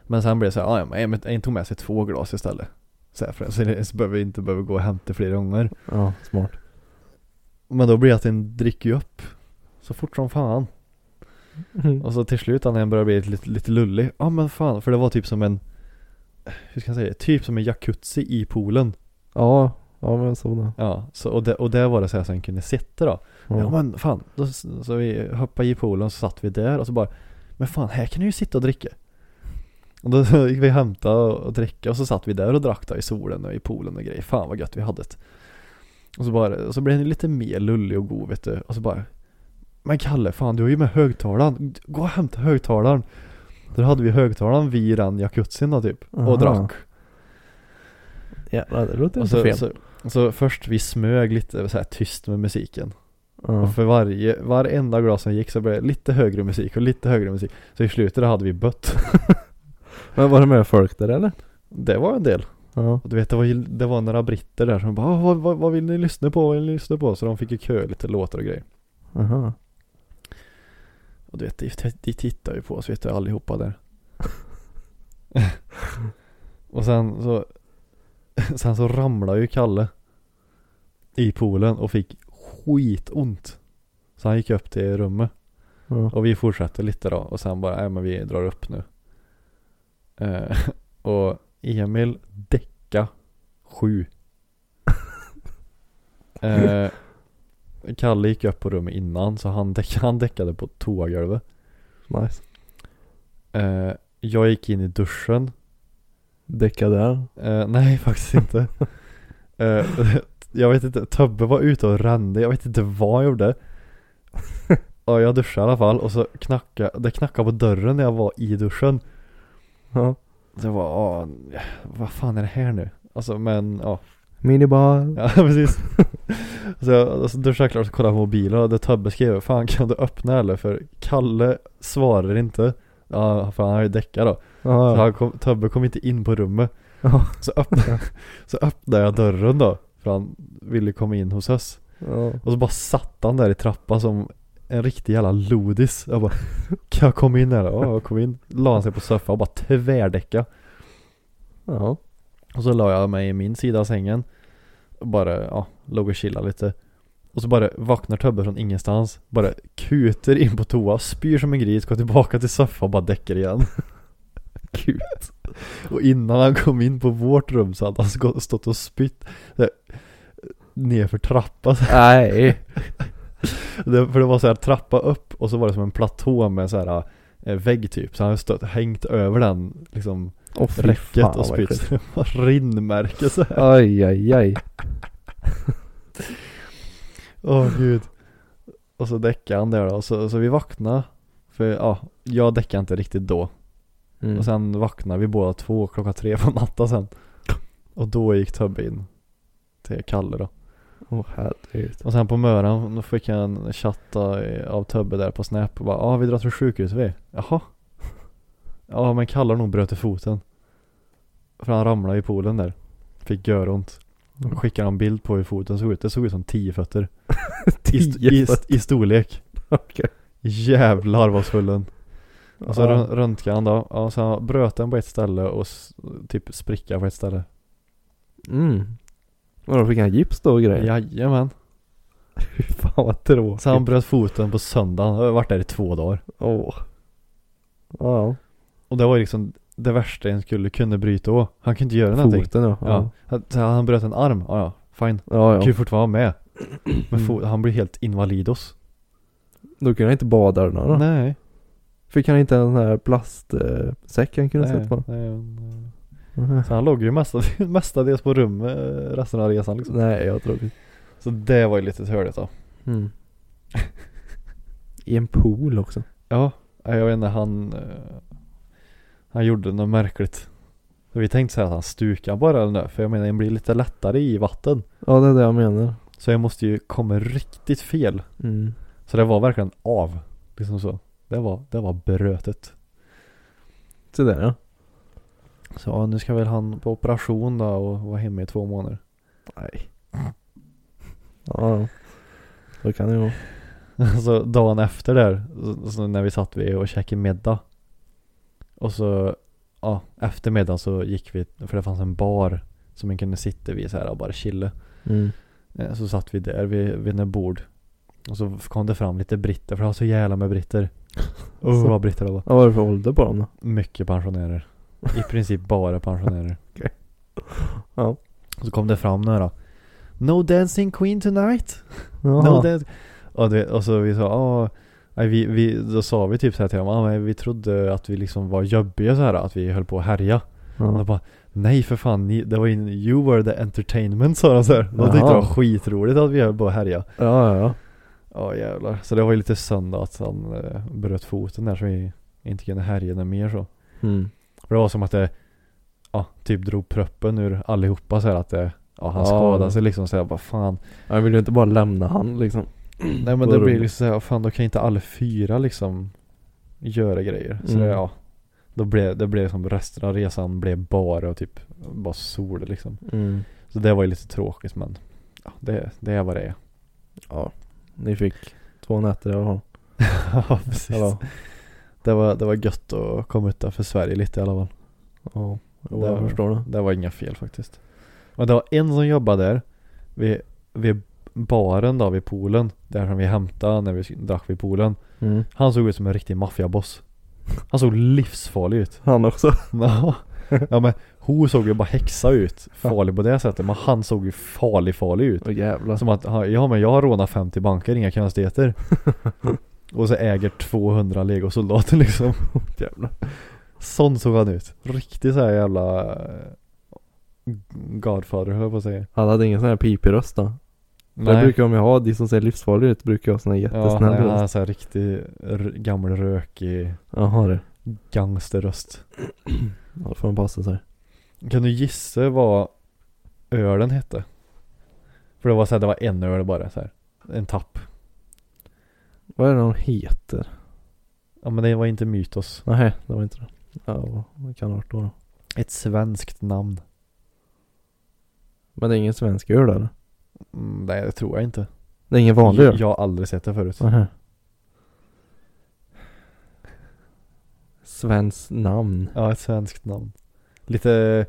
Men sen blev det så här, "Ah, ja, men en- en tog med sig två glas istället. Så, här, för, så, det- så behöver vi inte behöva gå och hämta flera gånger. Ja smart. Men då blir det att en dricker ju upp. Så fort som fan. Mm. Och så till slut när en börjar bli lite, lite lullig. Ja ah, men fan, för det var typ som en, hur ska jag säga, typ som en jacuzzi i poolen. Ja. Ja men så då. Ja, så, och, det, och där var det så här så en kunde sitta då. Ja, Ja. men fan, då, så vi hoppade i poolen så satt vi där och så bara Men fan här kan du ju sitta och dricka Och då <laughs> gick vi och hämtade och dricka och så satt vi där och drack då i solen och i poolen och grejer Fan vad gött vi hade det Och så bara, och så blev den lite mer lullig och god vet du Och så bara Men Kalle, fan du har ju med högtalaren Gå och hämta högtalaren Så Då hade vi högtalaren vid den jacuzzin då typ och Aha. drack Jävlar det låter och inte så, fel. så, så först vi smög lite så här tyst med musiken ja. och för varje, varenda glas som gick så blev det lite högre musik och lite högre musik. Så i slutet hade vi bött. <laughs> Men var det med folk där eller? Det var en del. Ja. Och du vet det var, ju, det var några britter där som bara "Ah, vad, vad, vad vill ni lyssna på? Vad vill ni lyssna på? Så de fick ju kö lite låtar och grejer. Aha. Och du vet de, de tittar ju på oss vet du allihopa där. <laughs> och sen så <laughs> Sen så ramlade ju Kalle I poolen och fick skitont. Så han gick upp till rummet. Ja. Och vi fortsatte lite då och sen bara, nej men vi drar upp nu. Eh, <laughs> och Emil däcka sju. eh, Kalle gick upp på rummet innan så han, däck, han däckade på toagolvet. Nice. Eh, jag gick in i duschen. Däcka där. Eh, <laughs> nej faktiskt inte. Eh, <laughs> jag vet inte, Tubbe var ute och rände, jag vet inte vad jag gjorde. Ja, jag duschade i alla fall och så knackade, det knackade på dörren när jag var i duschen. Ja. Så jag bara, "Ah, vad fan är det här nu? Alltså men, ja. <laughs> Minibar. Ja precis. <laughs> så jag så duschade jag klart och kollade på mobilen och det Tubbe skrev, fan kan du öppna eller? För Kalle svarar inte. Ja, för han har ju däckat då. Så Ja. han kom, Tubbe kom inte in på rummet. Ja. Så öppnade, <laughs> så öppnade jag dörren då. För han ville komma in hos oss. Ja. Och så bara satt han där i trappan som en riktig jävla lodis. Jag bara, kan jag komma in här? Ja, kom in. La han sig på soffan och bara tvärdäcka. Ja. Och så la jag mig i min sida av sängen. Och bara, ja, låg och chillade lite. Och så bara vaknar Tubbe från ingenstans. Bara kuter in på toa, spyr som en gris, går tillbaka till soffan och bara däcker igen. <laughs> Kut. Och innan han kom in på vårt rum så hade han skå- stått och spytt där, nerför trappan. <laughs> Nej. Det, för det var så här trappa upp och så var det som en platå med så här eh, vägg typ. Så han hade stått, hängt över den liksom Åh fy räcket fan, och vad spytt. äckligt. Så det var Rinnmärke så här. Aj, aj, aj. Åh gud. Och så däckade han där då. Så, så vi vaknade. För ja, jag däckade inte riktigt då. Mm. Och sen vaknade vi båda två klockan tre på natten sen. Och då gick Tubbe in. Till Kalle då. Åh herregud. Och sen på morgonen då fick jag en chatta eh, av Tubbe där på Snap och bara ja ah, vi drar till sjukhuset vi. Jaha? <laughs> Ja men Kalle har nog bröt foten. För han ramlade i poolen där. Fick göront. Mm. Och skickade en bild på hur foten såg ut. Det såg ut som tio fötter. I, st- i, Tio st- i storlek. Okej. Jävlar vad svullen. Och så Ja. rö- röntgade han då. Ja, så han bröt den på ett ställe och s- typ spricka på ett ställe. Mm. Och då fick han gips då och grejer? Jajamän. Fy fan vad tråkigt. Så han bröt foten på söndagen. Han har varit där i två dagar. Åh. Ja. Och det var ju liksom det värsta en skulle kunna bryta då. Han kunde inte göra någonting. Foten ja. Ja. Han- Så han bröt en arm. Ja, ja. Fine. Ja, ja. Kan ju fortfarande vara med. Men Mm. fo- han blir helt invalidos. Då kunde han inte bada eller något. då. Nej. Fick han inte en sån här plastsäck han kunde sätta Nej. på? nej, nej. Mhm. Så han låg ju mestadels, <laughs> mestadels på rummet eh, resten av resan liksom. Nej, jag tror inte. Så det var ju lite törligt då. Mm. <laughs> I en pool också. Ja, jag vet inte, han eh, Han gjorde något märkligt Så vi tänkte säga att han stukade bara eller något, För jag menar den blir lite lättare i vatten Ja, det är det jag menar. Så jag måste ju komma riktigt fel Mm. Så det var verkligen av Liksom så Det var, det var brötet Så där ja. Så ja, nu ska väl han på operation då och vara hemma i två månader <laughs> Nej. Ja, ja. Så kan det ju vara. Så dagen efter där, så- så när vi satt vi och käkade middag. Och så, ja, efter middagen så gick vi, för det fanns en bar som man kunde sitta vid så här och bara chilla. Mm. Eh, Så satt vi där vid, vid något bord. Och så kom det fram lite britter, för det var så jävla med <laughs> britter. Usch Så. vad britter det var. Vad var det för ålder på dem då? Mycket pensionärer. <laughs> I princip bara pensionärer. Okej. Ja. Och så kom det fram några då. No dancing queen tonight. No, Jaha. det, och, det, och så vi sa, ah, nej, vi, vi, då sa vi typ så här till dem, ah, men vi trodde att vi liksom var jobbiga så här, att vi höll på att härja. Och de Ja. bara, nej för fan, ni, det var ju, you were the entertainment sa de så här. De tyckte det Jaha. var skitroligt att vi höll på att härja. ja, ja, Ja jävlar. Så det var ju lite söndag att han eh, bröt foten där så vi inte kunde härja något mer så. ja. Mm. För det var som att det, ja, typ drog proppen ur allihopa så här att det, ja han Ja. skadade sig liksom så jag bara fan. Jag vill ju inte bara lämna han liksom. Nej men På det blir rummet. liksom såhär, fan då kan inte alla fyra liksom göra grejer. Så Mm. det, ja. Då blev, det blev som resten av resan blev bara typ bara sol liksom. Mm. Så det var ju lite tråkigt men ja, det, det är vad det är. <laughs> Ja. Ni fick två nätter i alla fall. ja precis. Eller? Det var, det var gött att komma utanför Sverige lite i alla fall. Ja. Jo, Det jag var- förstår det. Det var inga fel faktiskt. Men det var en som jobbade där vid, vid baren då vid poolen. Där som vi hämtade när vi drack vid poolen. Mm. Han såg ut som en riktig maffiaboss. Han såg livsfarlig ut. <laughs> Han också. Ja. ja men hon såg ju bara häxa ut. Farlig på det sättet. Men han såg ju farlig farlig ut. <laughs> Åh jävlar. Som att, han- ja men jag har rånat 50 banker, inga konstigheter. <laughs> Och så äger 200 legosoldater liksom. <laughs> jävlar. Sån såg han ut. Riktig så här jävla eh, Godfather höll jag på att säga. Han hade ingen sån här pipig röst då. Det brukar de ju ha, de som ser livsfarliga ut brukar ha sån här ja, jättesnäll nej, han röst. har så här riktig r- gammal rökig Jaha du. gangsterröst. Ja, då får de passa sig. Kan du gissa vad ölen hette? För det var så här, det var en öl bara så här. En tapp. Vad är det de heter? Ja men det var inte Mytos. Nej, det var inte det. Ja, det kan ha varit då. då. Ett svenskt namn. Men det är ingen svensk öl eller? Mm, nej det tror jag inte. Det är ingen vanlig öl? Jag har aldrig sett det förut. Nähä. Svenskt namn. Ja ett svenskt namn. Lite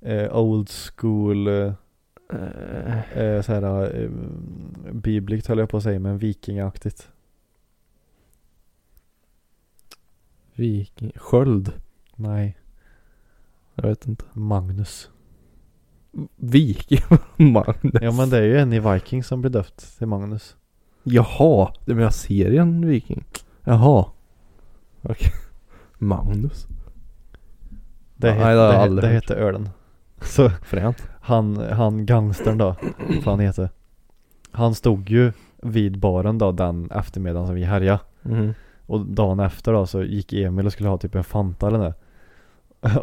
eh, old school eh, Eh, eh, så här eh, bibligt höll jag på att säga men vikingaktigt. viking. Sköld. Nej, Jag vet inte. Magnus. Viking. <laughs> Magnus. Ja men det är ju en i Vikings som blir döpt till Magnus. Jaha. Du menar serien Viking? Jaha. Okej. Magnus. Det, Ja, het, nej, det har jag det, aldrig det hört. heter ölen. Så Fränt. han, han gangstern då, vad han heter. Han stod ju vid baren då den eftermiddagen som vi härjade. Mm. <laughs> Och dagen efter då så gick Emil och skulle ha typ en Fanta eller nåt.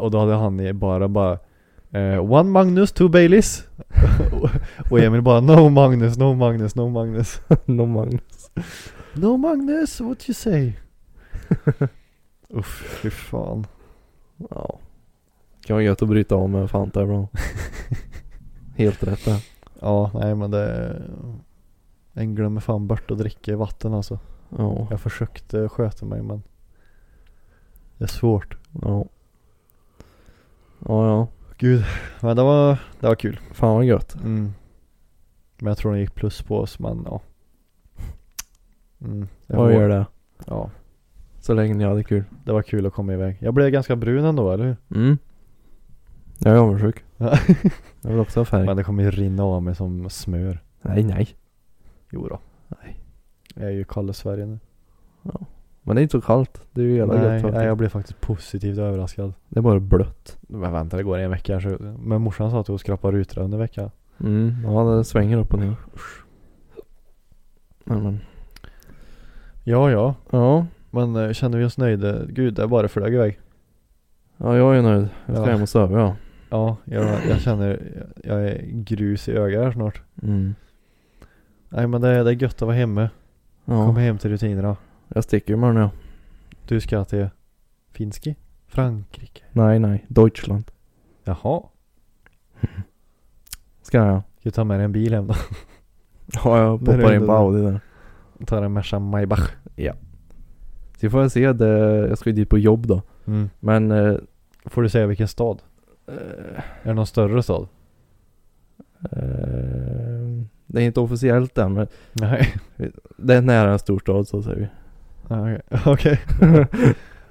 <laughs> Och då hade han i bara bara eh, One Magnus, two Baileys. <laughs> Och- och Emil bara No Magnus, no Magnus, no Magnus. no Magnus. No Magnus, what you say? Uff, fy fan. Ja. Kan vara gött att bryta av med en Fanta <laughs> ibland. Helt rätt där. Ja, nej men det... En glömmer fan bort att dricka vatten alltså. Ja. Jag försökte sköta mig men... Det är svårt. Ja. Ja, ja. Gud, men det var, det var kul. Fan vad gött. Mm. Men jag tror den gick plus på oss men ja. Mm, det Vad var- gör det? Ja, Så länge ni hade kul. det var kul att komma iväg. Jag blev ganska brun ändå, eller <laughs> hur? Mm. Jag är avundsjuk. Ja. Jag vill också ha färg. Men det kommer ju rinna av mig som smör. Nej, nej. Jo då. Nej. Jag är ju kall i Sverige nu. Men det är inte så kallt. Det är ju jävla Nej, gött faktiskt. nej, jag blev faktiskt positivt överraskad. Det är bara blött. Men vänta, det går en vecka så... Men morsan sa att hon skrapar rutor under veckan. Mm. Ja, det svänger upp och ner. Nej, men. Ja, ja. Ja. Men eh, känner vi oss nöjda? Gud, det bara flög iväg. ja, jag är nöjd. Jag ska Ja. hem och sova ja. Ja, jag, jag känner... Jag är grus i ögat här snart. Mm. Nej, men det, det är gött att vara hemma. Ja. Kom hem till rutinerna. Jag sticker imorgon ja. Du ska till Finski? Frankrike? Nej, nej. Deutschland. Jaha. Ska jag. Ska du ta med dig en bil hem då? <laughs> Ja, jag Nej, det är poppar in inte på det. Audi där. Ta en Merca Maybach. Så får jag se. Det... Jag ska ju dit på jobb då. Mm. Men. Eh, Får du säga vilken stad? eh, Är det någon större stad? eh, det är inte officiellt än men. <laughs> Nej. Det är nära en storstad så säger vi. Ja, Okej. <laughs> Okej.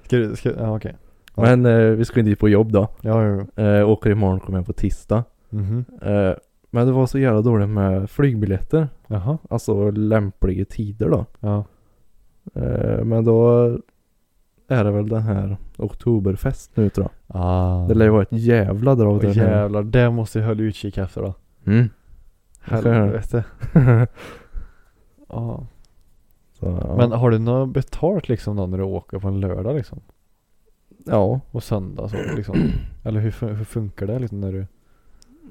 Ska du, ska, ja okej. Ja. Men eh, vi ska ju dit på jobb då. Ja, jo, jo. Eh, åker imorgon, kommer hem på tisdag. Mhm. Eh, men det var så jävla dåligt med flygbiljetter. Jaha. Alltså lämpliga tider då. Ja. Eh, men då är det väl den här Oktoberfest nu tror jag. Ah. Det lär ju vara ett jävla drag Åh där nere. jävlar, det måste jag hålla utkik efter då. Mm. Jag ska göra det. Helvete. <laughs> ja. Så, ja. Men har du något betalt liksom då när du åker på en lördag liksom? ja. Och söndag så <clears throat> liksom? Eller hur, fun- hur funkar det liksom när du?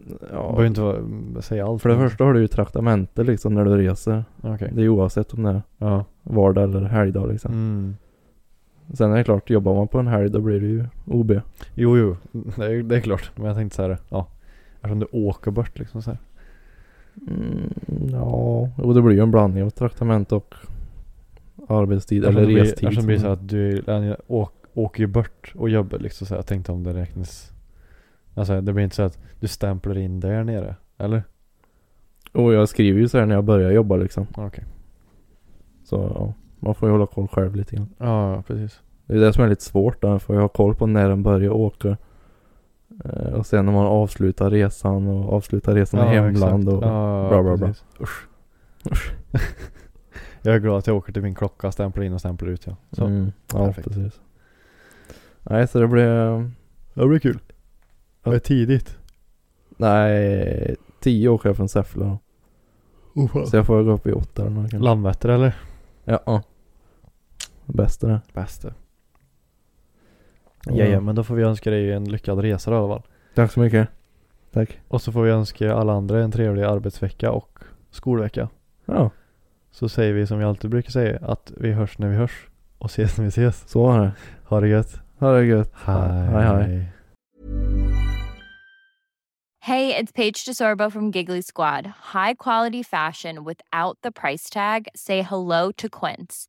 Du behöver ja. inte vara- mm, säga allt. För det första har du ju traktamente liksom när du reser. Okej. Det är oavsett om det är Ja. vardag eller helgdag liksom. Mm. Sen är det klart, jobbar man på en helg då blir det ju OB. Jo, jo. Det är, det är klart. Men jag tänkte så här, ja. Eftersom du åker bort liksom så här. Mm, ja, och det blir ju en blandning av traktamente och arbetstid eller Eftersom det blir- restid. mm. Eftersom det blir så som- att du eller, åk, åker ju bort och jobbar liksom så här. Jag tänkte om det räknas. Alltså det blir inte så att du stämplar in där nere. Eller? Mm. Och jag skriver ju så här när jag börjar jobba liksom. Okej. Så ja, man får ju hålla koll själv lite grann. Ja, precis. Det är det som är lite svårt där, för jag har koll på när den börjar åka. Eh, Och sen när man avslutar resan och avslutar resan i hemland och... ja, bla, bla, bla. precis. Usch. <laughs> Jag är glad att jag åker till min klocka, stämplar in och stämplar ut ja. Så. Mm, ja, Perfekt. precis. Nej, så det blev... Det blir kul. Det är tidigt. Nej, tio åker jag från Säffle då. Så jag får gå upp i åtta eller något kanske. Landvetter eller? Ja. ja. Bäst är det. Bästa. Ja, ja, men då får vi önska dig en lyckad resa då, i alla fall. Tack så mycket. Tack. Och så får vi önska alla andra en trevlig arbetsvecka och skolvecka. Ja, Så säger vi som vi alltid brukar säga att vi hörs när vi hörs och ses när vi ses. så var det. Ha det gött. Ha det gött. Hej, hej. Hey, it's Paige DeSorbo from Giggly Squad. High quality fashion without the price tag. Say hello to Quince.